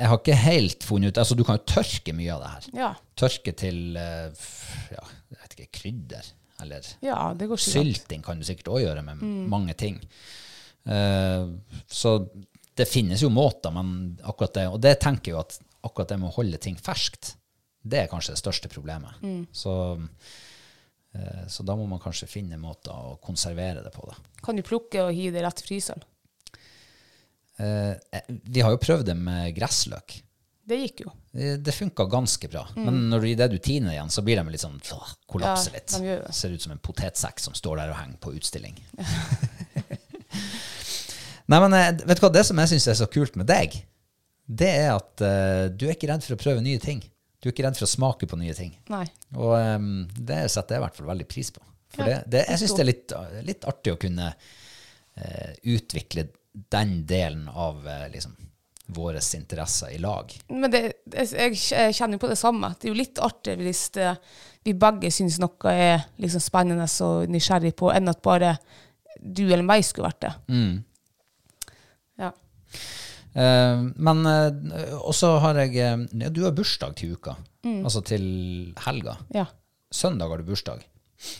[SPEAKER 1] jeg har ikke helt funnet ut Altså, du kan jo tørke mye av det her.
[SPEAKER 2] Ja,
[SPEAKER 1] Tørke til eh, f- ja, jeg vet ikke, krydder. Eller
[SPEAKER 2] ja det går sikkert.
[SPEAKER 1] sylting kan du sikkert òg gjøre med mange ting. Eh, så det finnes jo måter, men akkurat det Og det tenker jeg jo at akkurat det med å holde ting ferskt, det er kanskje det største problemet. Så, eh, så da må man kanskje finne måter å konservere det på, da.
[SPEAKER 2] Kan du plukke og hive det rett i fryseren?
[SPEAKER 1] Eh, eh, vi har jo prøvd det med gressløk.
[SPEAKER 2] Det gikk jo.
[SPEAKER 1] Eh, Det funka ganske bra. Men når du, i det du tiner igjen, så blir de litt sånn åh, kollapser
[SPEAKER 2] Mm. Ja,
[SPEAKER 1] litt.
[SPEAKER 2] de gjør det.
[SPEAKER 1] Ser ut som en potetsekk som står der og henger på utstilling. Nei, men eh, vet du hva, det som jeg syns er så kult med deg, det er at eh, du er ikke redd for å prøve nye ting. Du er ikke redd for å smake på nye ting.
[SPEAKER 2] Nei.
[SPEAKER 1] Og em, det setter jeg i hvert fall veldig pris på. For det,
[SPEAKER 2] Ja,
[SPEAKER 1] det, jeg syns
[SPEAKER 2] forstå.
[SPEAKER 1] det er litt, litt artig å kunne eh, utvikle den delen av eh, liksom, våre interesser i lag.
[SPEAKER 2] Men det, jeg, jeg jeg kjenner jo på det samme. Det er jo litt artigere hvis det, vi begge syns noe er liksom spennende og nysgjerrig på, enn at bare du eller meg skulle vært det.
[SPEAKER 1] Mm.
[SPEAKER 2] Ja.
[SPEAKER 1] Eh, men eh, også har jeg eh, ja, Du har bursdag til uka, altså til helga.
[SPEAKER 2] ja.
[SPEAKER 1] Søndag har du bursdag.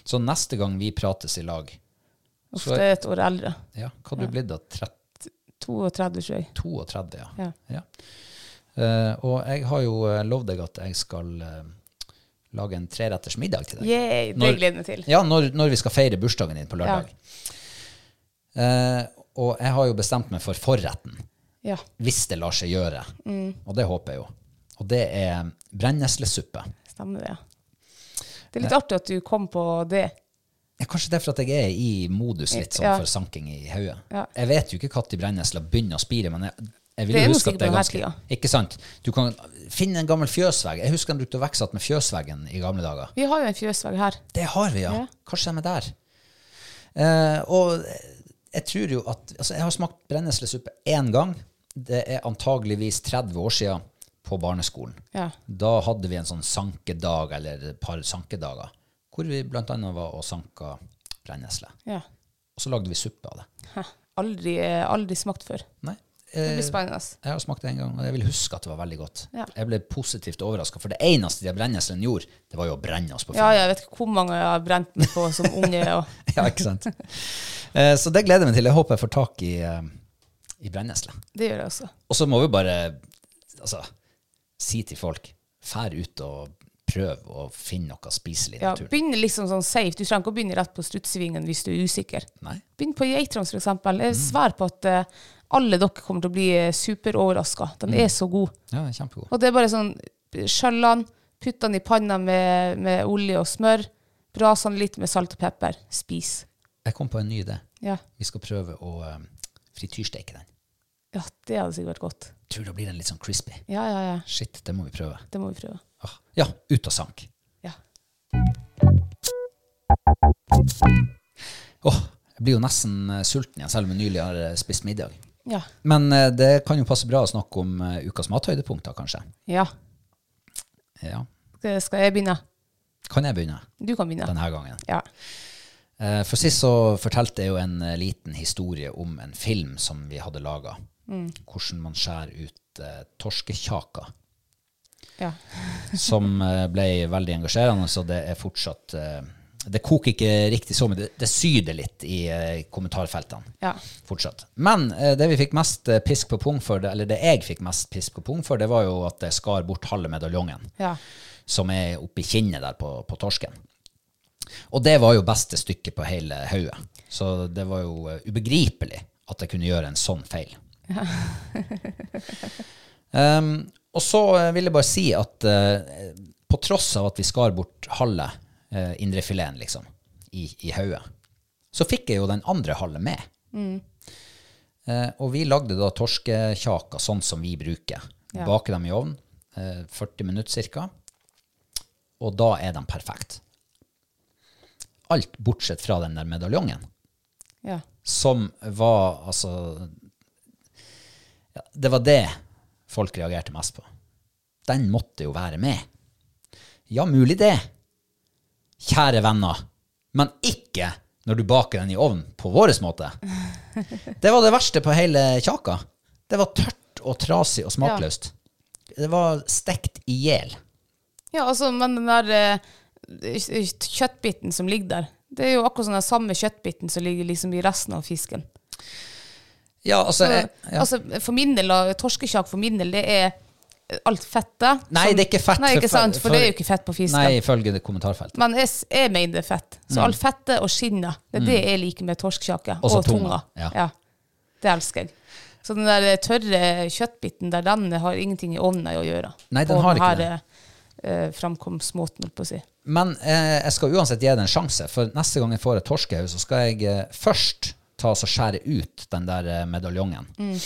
[SPEAKER 1] Så neste gang vi prates i lag
[SPEAKER 2] Uff,
[SPEAKER 1] Så-
[SPEAKER 2] det er et år eldre.
[SPEAKER 1] ja, Hva har du blitt da? 30,
[SPEAKER 2] 32, tror jeg.
[SPEAKER 1] 32? Ja.
[SPEAKER 2] Ja.
[SPEAKER 1] Eh, og jeg har jo eh, lovd deg at jeg skal eh, lage en treretters middag til deg.
[SPEAKER 2] Yay, det
[SPEAKER 1] Når-
[SPEAKER 2] gleder jeg meg til.
[SPEAKER 1] Ja, når, når vi skal feire bursdagen din på lørdag. Eh, og jeg har jo bestemt meg for forretten.
[SPEAKER 2] Ja.
[SPEAKER 1] hvis det lar seg gjøre.
[SPEAKER 2] Mm.
[SPEAKER 1] Og det håper jeg jo. Og det er brenneslesuppe.
[SPEAKER 2] Stemmer det. Det er litt artig at du kom på det.
[SPEAKER 1] Ja, kanskje det er for at jeg er i modus litt sånn
[SPEAKER 2] Ja.
[SPEAKER 1] for sanking i hodet.
[SPEAKER 2] Ja.
[SPEAKER 1] Jeg vet jo ikke når brennesla begynner å spire, men jeg, jeg vil
[SPEAKER 2] Det er
[SPEAKER 1] jo
[SPEAKER 2] jo
[SPEAKER 1] huske
[SPEAKER 2] sikkert
[SPEAKER 1] at det er
[SPEAKER 2] på
[SPEAKER 1] ganske
[SPEAKER 2] denne
[SPEAKER 1] Ikke sant? Du kan finne en gammel fjøsvegg. Jeg husker han brukte å vokse igjen med fjøsveggen i gamle dager.
[SPEAKER 2] Vi har jo en fjøsvegg her.
[SPEAKER 1] Det har vi, ja.
[SPEAKER 2] Ja.
[SPEAKER 1] Kanskje de er der. Eh, og jeg tror jo at altså Jeg har smakt brenneslesuppe én gang. Det er antageligvis 30 år siden på barneskolen.
[SPEAKER 2] Ja.
[SPEAKER 1] Da hadde vi en sånn sankedag, eller et par sankedager, hvor vi blant annet var og sanka brennesle.
[SPEAKER 2] ja.
[SPEAKER 1] Og så lagde vi suppe av det.
[SPEAKER 2] Hæ. Aldri, aldri smakt før.
[SPEAKER 1] Nei,
[SPEAKER 2] Det
[SPEAKER 1] eh,
[SPEAKER 2] blir spennende.
[SPEAKER 1] jeg har smakt det en gang, og jeg vil huske at det var veldig godt.
[SPEAKER 2] Ja.
[SPEAKER 1] Jeg ble positivt overraska, for det eneste de brenneslene gjorde, det var jo å brenne oss på
[SPEAKER 2] Ja, jeg vet ikke hvor mange jeg har brent meg på som unge. Og,
[SPEAKER 1] Ja, ikke sant? Eh, Så det gleder jeg meg til. Jeg håper jeg får tak i, eh, i brennesle.
[SPEAKER 2] det gjør jeg også.
[SPEAKER 1] Og så må vi bare altså, si til folk fær ut og prøv å finne noe spiselig i
[SPEAKER 2] Ja,
[SPEAKER 1] naturen.
[SPEAKER 2] begynn liksom sånn safe. Du trenger ikke å begynne rett på strutsvingen hvis du er usikker.
[SPEAKER 1] Nei?
[SPEAKER 2] Begynn på geitrams, for eksempel. Jeg sverger på at eh, alle dere kommer til å bli superoverraska. Den er så god.
[SPEAKER 1] Ja, kjempegod.
[SPEAKER 2] Og det er bare sånn Skjøll den, putt den i panna med, med olje og smør. Bras den litt med salt og pepper. Spis.
[SPEAKER 1] Jeg kom på en ny idé.
[SPEAKER 2] Ja,
[SPEAKER 1] Vi skal prøve å eh, frityrsteke den.
[SPEAKER 2] ja det hadde sikkert vært godt.
[SPEAKER 1] Tror da blir den litt sånn crispy.
[SPEAKER 2] Ja, ja, ja.
[SPEAKER 1] Shit, det må vi prøve.
[SPEAKER 2] Det må vi prøve.
[SPEAKER 1] Ah, ja, ut og sank.
[SPEAKER 2] Ja.
[SPEAKER 1] Åh, jeg Jeg blir jo nesten eh, sulten igjen, selv om jeg nylig har eh, spist middag.
[SPEAKER 2] Ja.
[SPEAKER 1] Men eh, det kan jo passe bra å snakke om eh, ukas mathøydepunkter, kanskje.
[SPEAKER 2] ja.
[SPEAKER 1] Ja.
[SPEAKER 2] Skal- Skal jeg begynne?
[SPEAKER 1] Kan jeg begynne
[SPEAKER 2] Du kan begynne.
[SPEAKER 1] denne gangen?
[SPEAKER 2] Ja.
[SPEAKER 1] Eh, For sist så fortalte jeg jo en eh, liten historie om en film som vi hadde laga. Hvordan man skjærer ut eh, torskekjaker.
[SPEAKER 2] ja.
[SPEAKER 1] Som eh, ble veldig engasjerende, så det er fortsatt eh, Det koker ikke riktig så mye. Det, det syder litt i eh, kommentarfeltene
[SPEAKER 2] Ja.
[SPEAKER 1] fortsatt. Men eh, det vi fikk mest eh, pisk på pung for, det- eller det jeg fikk mest pisk på pung for, det var jo at jeg skar bort halve medaljongen
[SPEAKER 2] Ja.
[SPEAKER 1] som er oppi kinnet der på, på torsken. Og det var jo beste stykket på hele hauget. Så det var jo eh, ubegripelig at jeg kunne gjøre en sånn feil. um, og så eh, vil jeg bare si at eh, på tross av at vi skar bort halve eh, indrefileten liksom, i, i hauget, så fikk jeg jo den andre halve med. Eh, og vi lagde da torskekjaker sånn som vi bruker.
[SPEAKER 2] Ja.
[SPEAKER 1] Bake dem i ovn eh, 40 minutter ca. Og da er de perfekt. Alt bortsett fra den der medaljongen,
[SPEAKER 2] ja.
[SPEAKER 1] som var altså ja, Det var det folk reagerte mest på. Den måtte jo være med. Ja, mulig det. Kjære venner, men ikke når du baker den i ovnen på vår måte. Det var det verste på hele kjaka. Det var tørt og trasig og smakløst. Det var stekt i hjel.
[SPEAKER 2] ja altså, men den der eh, kjøttbiten som ligger der, det er jo akkurat sånn den samme kjøttbiten som ligger liksom i resten av fisken.
[SPEAKER 1] Ja, altså, jeg, ja.
[SPEAKER 2] Altså, for min del, da, torskekjak for min del, det er alt fettet.
[SPEAKER 1] Nei,
[SPEAKER 2] som-
[SPEAKER 1] det er ikke fett.
[SPEAKER 2] Nei, ikke sant, for det er jo
[SPEAKER 1] for-
[SPEAKER 2] ikke fett på fisken.
[SPEAKER 1] Nei, Mm. ifølge det kommentarfeltet.
[SPEAKER 2] Men jeg, s- jeg mener det er fett. Så alt fettet og skinnet, det er det jeg liker med torskkjake.
[SPEAKER 1] Også
[SPEAKER 2] og tunga.
[SPEAKER 1] Mm. tunga, ja.
[SPEAKER 2] Det elsker jeg. Så den der eh, tørre kjøttbiten der, den har ingenting i ovnen å gjøre.
[SPEAKER 1] Nei, den
[SPEAKER 2] Og
[SPEAKER 1] har ikke
[SPEAKER 2] her, eh, eh, framkomstmåten, holdt på å si.
[SPEAKER 1] Men eh, jeg skal uansett gi det en sjanse, for neste gang jeg får et torskehaug, så skal jeg eh, først ta og så skjære ut den der eh, medaljongen.
[SPEAKER 2] Mm.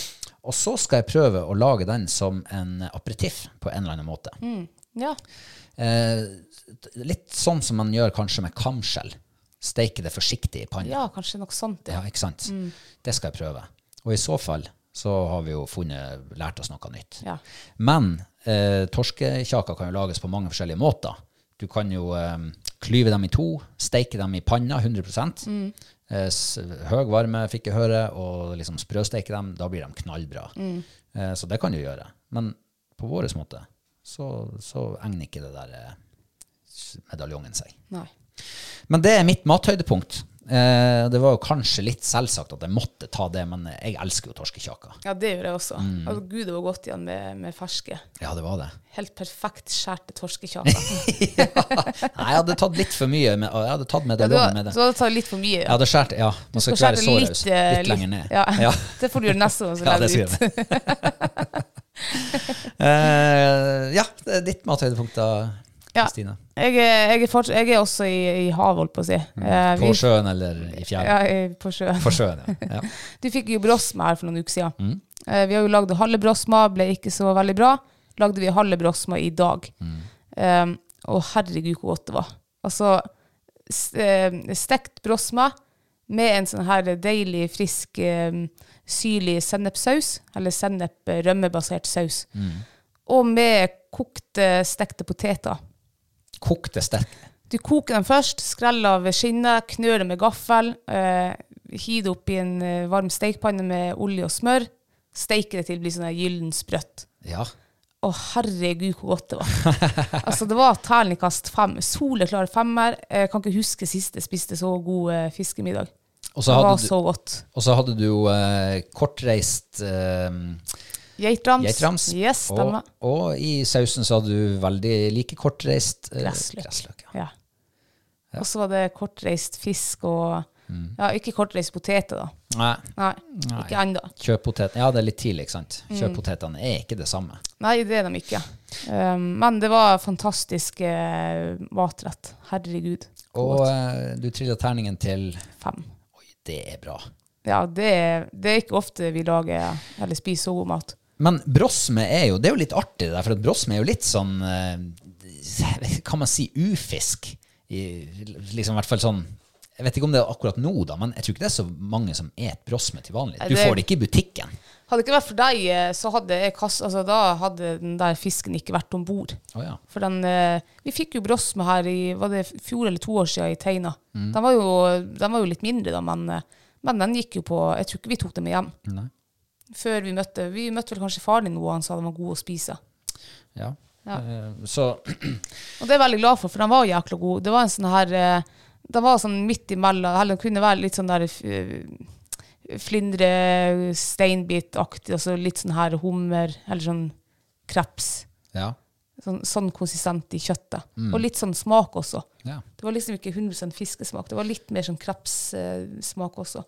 [SPEAKER 1] Og så skal jeg prøve å lage den som en aperitiff på en eller annen måte.
[SPEAKER 2] Mm. Ja.
[SPEAKER 1] Eh, litt sånn som man gjør kanskje med kamskjell. Steike det forsiktig i panna.
[SPEAKER 2] ja, Mm. kanskje noe sånt.
[SPEAKER 1] Ja, ikke sant? Det skal jeg prøve. Og i så fall så har vi jo funnet, lært oss noe nytt.
[SPEAKER 2] Ja.
[SPEAKER 1] Men eh, torskekjaker kan jo lages på mange forskjellige måter. Du kan jo eh, klyve dem i to, steike dem i panna 100 eh, s- Høy varme fikk jeg høre, og liksom sprøsteike dem. Da blir de knallbra. Eh, så det kan du gjøre. Men på vår måte så, så egner ikke det der eh, s- medaljongen seg.
[SPEAKER 2] Nei.
[SPEAKER 1] Men det er mitt mathøydepunkt. Eh, det var jo kanskje litt selvsagt at jeg måtte ta det, men jeg elsker jo torskekjaker.
[SPEAKER 2] Ja, det gjør jeg også.
[SPEAKER 1] Mm.
[SPEAKER 2] Altså, Gud, det var godt igjen med, med ferske.
[SPEAKER 1] Ja, det var det.
[SPEAKER 2] Helt perfekt skjærte torskekjaker.
[SPEAKER 1] Nei, jeg hadde tatt litt for mye. Med, jeg hadde tatt
[SPEAKER 2] Ja, du
[SPEAKER 1] medaljongen
[SPEAKER 2] har-
[SPEAKER 1] med det.
[SPEAKER 2] så da tar jeg litt for mye.
[SPEAKER 1] Jeg hadde skjært, ja. Man skal ikke være så raus. Litt,
[SPEAKER 2] eh,
[SPEAKER 1] lenger ned.
[SPEAKER 2] Ja.
[SPEAKER 1] Ja.
[SPEAKER 2] Det får du gjøre neste gang. så
[SPEAKER 1] Ja,
[SPEAKER 2] legger
[SPEAKER 1] det
[SPEAKER 2] du
[SPEAKER 1] skal
[SPEAKER 2] ut.
[SPEAKER 1] jeg gjøre. Eh, ja, det er ditt mathøydepunkt da,
[SPEAKER 2] Ja.
[SPEAKER 1] Kristine.
[SPEAKER 2] Jeg er, jeg er, fortsatt, jeg er også i, i havet, holdt på å si. Eh, vi-
[SPEAKER 1] Mm. På sjøen eller i fjæra?
[SPEAKER 2] Ja, eh, på sjøen.
[SPEAKER 1] På sjøen, ja. ja.
[SPEAKER 2] Du fikk jo brosma her for noen uker siden. Eh, vi har jo lagd halve brosma, ble ikke så veldig bra. Lagde vi halve brosma i dag. Eh, og herregud, hvor godt det var. Altså, s- eh, stekt brosma med en sånn her deilig, frisk, eh, syrlig sennepsaus, eller sennep eh, rømmebasert saus. Og med kokte, stekte poteter.
[SPEAKER 1] Kokte sterk.
[SPEAKER 2] Du koker dem først, skreller av skinnet, knør dem med gaffel, eh, hiv det opp i en eh, varm stekepanne med olje og smør, steiker det til det blir sånn her gyllen sprøtt.
[SPEAKER 1] Ja.
[SPEAKER 2] Å, herregud, hvor godt det var. altså, det var terningkast fem. Soleklar femmer. Jeg kan ikke huske sist jeg spiste så god eh, fiskemiddag.
[SPEAKER 1] Og så
[SPEAKER 2] Det var
[SPEAKER 1] hadde du,
[SPEAKER 2] så godt.
[SPEAKER 1] og så hadde du jo eh, kortreist eh,
[SPEAKER 2] Geitrams.
[SPEAKER 1] Geitrams.
[SPEAKER 2] Yes, stemmer.
[SPEAKER 1] og, og i sausen så hadde du veldig like kortreist eh,
[SPEAKER 2] Gressløk.
[SPEAKER 1] gressløk, ja.
[SPEAKER 2] Ja. Og så var det kortreist fisk og Ja, ikke kortreist poteter, da.
[SPEAKER 1] Mm. Nei,
[SPEAKER 2] Nei, ikke ennå.
[SPEAKER 1] kjøttpotet Ja, det er litt tidlig, ikke sant?
[SPEAKER 2] Mm.
[SPEAKER 1] Kjøttpotetene er ikke det samme.
[SPEAKER 2] Nei, det er de ikke. Um, men det var fantastisk eh, matrett. Herregud.
[SPEAKER 1] Og eh, du trilla terningen til
[SPEAKER 2] Fem.
[SPEAKER 1] Oi, det er bra.
[SPEAKER 2] Ja, det er, det er ikke ofte vi lager eller spiser så god mat.
[SPEAKER 1] Men brosme er jo Det er jo litt artig, det der, for at brosme er jo litt sånn eh, Kan man si ufisk? I, liksom i hvert fall sånn Jeg vet ikke om det er akkurat nå, da, men jeg tror ikke det er så mange som et brosme til vanlig. Du
[SPEAKER 2] det-
[SPEAKER 1] får det ikke i butikken.
[SPEAKER 2] Hadde det ikke vært for deg, eh, så hadde jeg kast, altså, da hadde den der fisken ikke vært om bord.
[SPEAKER 1] Å ja.
[SPEAKER 2] For den, eh, vi fikk jo brosme her i var det fjor eller to år siden i Teina. Den, var jo, den var jo litt mindre, da, men, eh, men den gikk jo på Jeg tror ikke vi tok den med hjem.
[SPEAKER 1] Nei.
[SPEAKER 2] Før Vi møtte Vi møtte vel kanskje faren din nå, og han sa den var god å spise.
[SPEAKER 1] Ja.
[SPEAKER 2] Ja.
[SPEAKER 1] Eh, Så
[SPEAKER 2] Og det er jeg veldig glad for, for den var jækla god. Det var en sånn her eh, Den var sånn midt imellom. Eller den kunne være litt sånn der eh, flindre steinbitaktig, og så litt sånn her hummer, eller sånn kreps.
[SPEAKER 1] ja.
[SPEAKER 2] Sånn, sånn konsistent i kjøttet. Og litt sånn smak også.
[SPEAKER 1] ja.
[SPEAKER 2] Det var liksom ikke 100 fiskesmak. Det var litt mer sånn krepssmak også.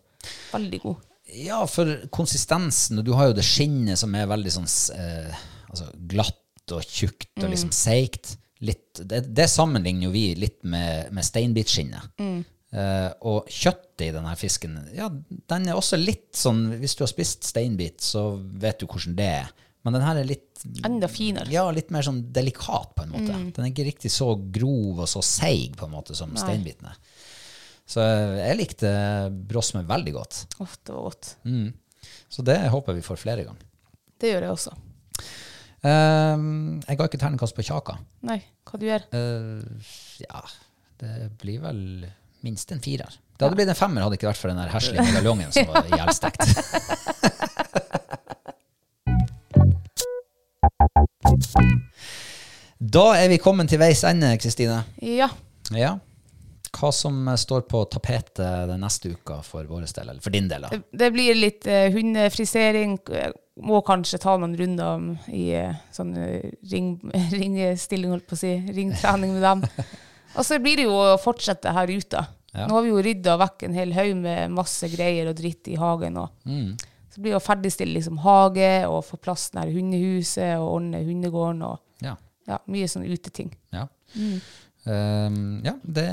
[SPEAKER 2] Veldig god.
[SPEAKER 1] Ja, for konsistensen, og du har jo det skinnet som er veldig sånn s- eh, altså glatt og tjukt
[SPEAKER 2] Mm.
[SPEAKER 1] og liksom seigt. Litt, det, det sammenligner jo vi litt med, med steinbitskinnet.
[SPEAKER 2] Mm.
[SPEAKER 1] Eh, og kjøttet i denne fisken, ja, den er også litt sånn, hvis du har spist steinbit, så vet du hvordan det er. Men den her er litt,
[SPEAKER 2] Enda finere. Mm.
[SPEAKER 1] ja, litt mer sånn delikat på en måte. Den er ikke riktig så grov og så seig på en måte som steinbiten er. Så eh, jeg likte brosme veldig godt.
[SPEAKER 2] Uff, det var godt.
[SPEAKER 1] Så det håper vi får flere ganger.
[SPEAKER 2] Det gjør jeg også.
[SPEAKER 1] Ehm, jeg ga ikke terningkast på Kjaka.
[SPEAKER 2] Nei, hva du gjør?
[SPEAKER 1] Eh, ja, det blir vel minst en firer. Det hadde blitt en femmer hadde det ikke vært for den der heslige medaljongen som var ihjelstekt. Da er vi kommet til veis ende, Kristine.
[SPEAKER 2] Ja.
[SPEAKER 1] Ja. Hva som eh, står på tapetet den neste uka for vår del, eller for din del? da?
[SPEAKER 2] Det, det blir litt eh, hundefrisering. eh, Må kanskje ta noen runder om- i eh, sånn eh, ring, ringestilling, holdt på å si. Ringtrening med dem. Og så blir det jo å fortsette her ute.
[SPEAKER 1] Ja.
[SPEAKER 2] Nå har vi jo rydda vekk en hel haug med masse greier og dritt i hagen. Og
[SPEAKER 1] Mm.
[SPEAKER 2] Så blir det å ferdigstille liksom hage og få plass nær hundehuset og ordne hundegården og
[SPEAKER 1] Ja.
[SPEAKER 2] ja, mye sånn uteting.
[SPEAKER 1] Ja, Mm. Ehm, ja det,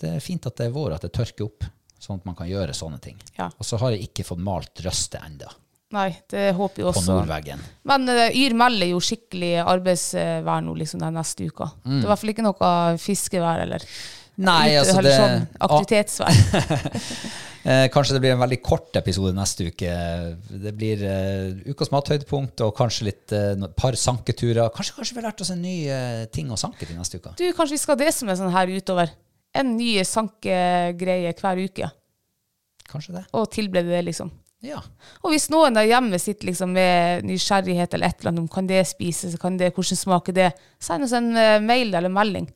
[SPEAKER 1] det er fint at det er vår, at det tørker opp, sånn at man kan gjøre sånne ting.
[SPEAKER 2] Ja.
[SPEAKER 1] Og så har jeg ikke fått malt røstet enda
[SPEAKER 2] Nei, det håper jeg
[SPEAKER 1] på
[SPEAKER 2] også.
[SPEAKER 1] nordveggen.
[SPEAKER 2] Men eh, Yr melder jo skikkelig arbeidsvær nå liksom den neste uka. Det er i hvert fall ikke noe fiskevær eller,
[SPEAKER 1] Mm. Nei,
[SPEAKER 2] ute-
[SPEAKER 1] altså
[SPEAKER 2] eller
[SPEAKER 1] det,
[SPEAKER 2] sånn aktivitetsvær.
[SPEAKER 1] Eh, kanskje det blir en veldig kort episode neste uke. Det blir eh, ukas mathøydepunkt og kanskje litt eh, no- par sanketurer. Kanskje, kanskje vi har lært oss en ny eh, ting å sanke til neste uke.
[SPEAKER 2] Du, kanskje vi skal ha det som er sånn her utover. En ny sankegreie hver uke.
[SPEAKER 1] Kanskje det?
[SPEAKER 2] Og tilberede det, liksom.
[SPEAKER 1] Ja.
[SPEAKER 2] Og hvis noen der hjemme sitter liksom med nysgjerrighet eller et eller annet om kan det spises, kan det, hvordan smaker det, send oss en eh, mail eller melding.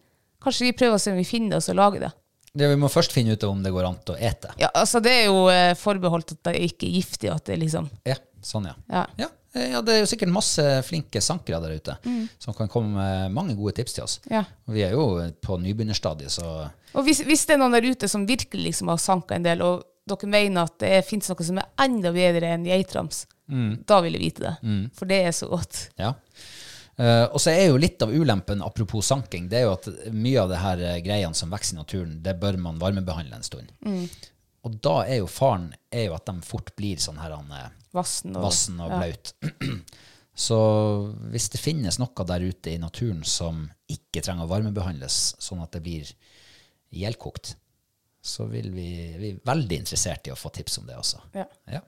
[SPEAKER 2] Kanskje vi prøver å se om vi finner oss og lager det.
[SPEAKER 1] ja. Vi må først finne ut om det går an å ete.
[SPEAKER 2] Ja, altså Det er jo eh, forbeholdt at det ikke er giftig. At det liksom,
[SPEAKER 1] Ja, sånn ja.
[SPEAKER 2] Ja.
[SPEAKER 1] Ja, eh, ja, det er jo sikkert masse flinke sankere der ute som kan komme med mange gode tips til oss.
[SPEAKER 2] Ja.
[SPEAKER 1] Og Vi er jo på nybegynnerstadiet, så
[SPEAKER 2] og hvis, hvis det er noen der ute som virkelig liksom har sanka en del, og dere mener at det fins noe som er enda bedre enn geitrams, da vil jeg vite det. For det er så godt.
[SPEAKER 1] ja. Eh, og så er jo litt av ulempen, apropos sanking, det er jo at mye av det her eh, greiene som vokser i naturen, det bør man varmebehandle en stund. Og da er jo faren er jo at de fort blir sånn her han, eh,
[SPEAKER 2] Vassen og,
[SPEAKER 1] vassen og blaut. Så hvis det finnes noe der ute i naturen som ikke trenger å varmebehandles, sånn at det blir ihjelkokt, så vil vi, vi er veldig interessert i å få tips om det også.
[SPEAKER 2] Ja.
[SPEAKER 1] Ja.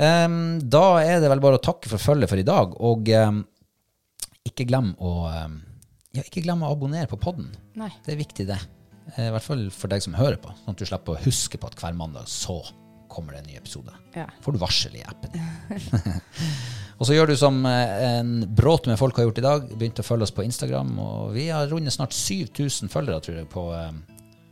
[SPEAKER 1] Em, da er det vel bare å takke for følget for i dag, og em, ikke glem å em, ja, ikke glem å abonnere på podden.
[SPEAKER 2] Nei.
[SPEAKER 1] Det er viktig, det. Eh, I hvert fall for deg som hører på, sånn at du slipper å huske på at hver mandag så kommer det en ny episode.
[SPEAKER 2] Ja.
[SPEAKER 1] Får du varsel i appen din. og så gjør du som eh, en bråte med folk har gjort i dag, begynte å følge oss på Instagram, og vi har rundet snart 7000 følgere, tror jeg, på em,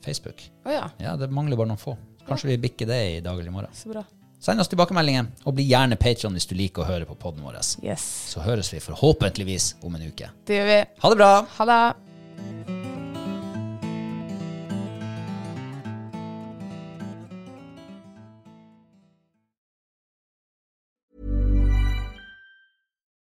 [SPEAKER 1] Facebook.
[SPEAKER 2] Å ja,
[SPEAKER 1] Ja, det mangler bare noen få. Kanskje vi bikker det i dag eller i morgen.
[SPEAKER 2] så bra.
[SPEAKER 1] Send oss tilbakemeldinger, og bli gjerne Patreon hvis du liker å høre på podden vår.
[SPEAKER 2] Yes.
[SPEAKER 1] Så høres vi forhåpentligvis om en uke.
[SPEAKER 2] Det gjør vi.
[SPEAKER 1] Ha det bra!
[SPEAKER 2] Ha det.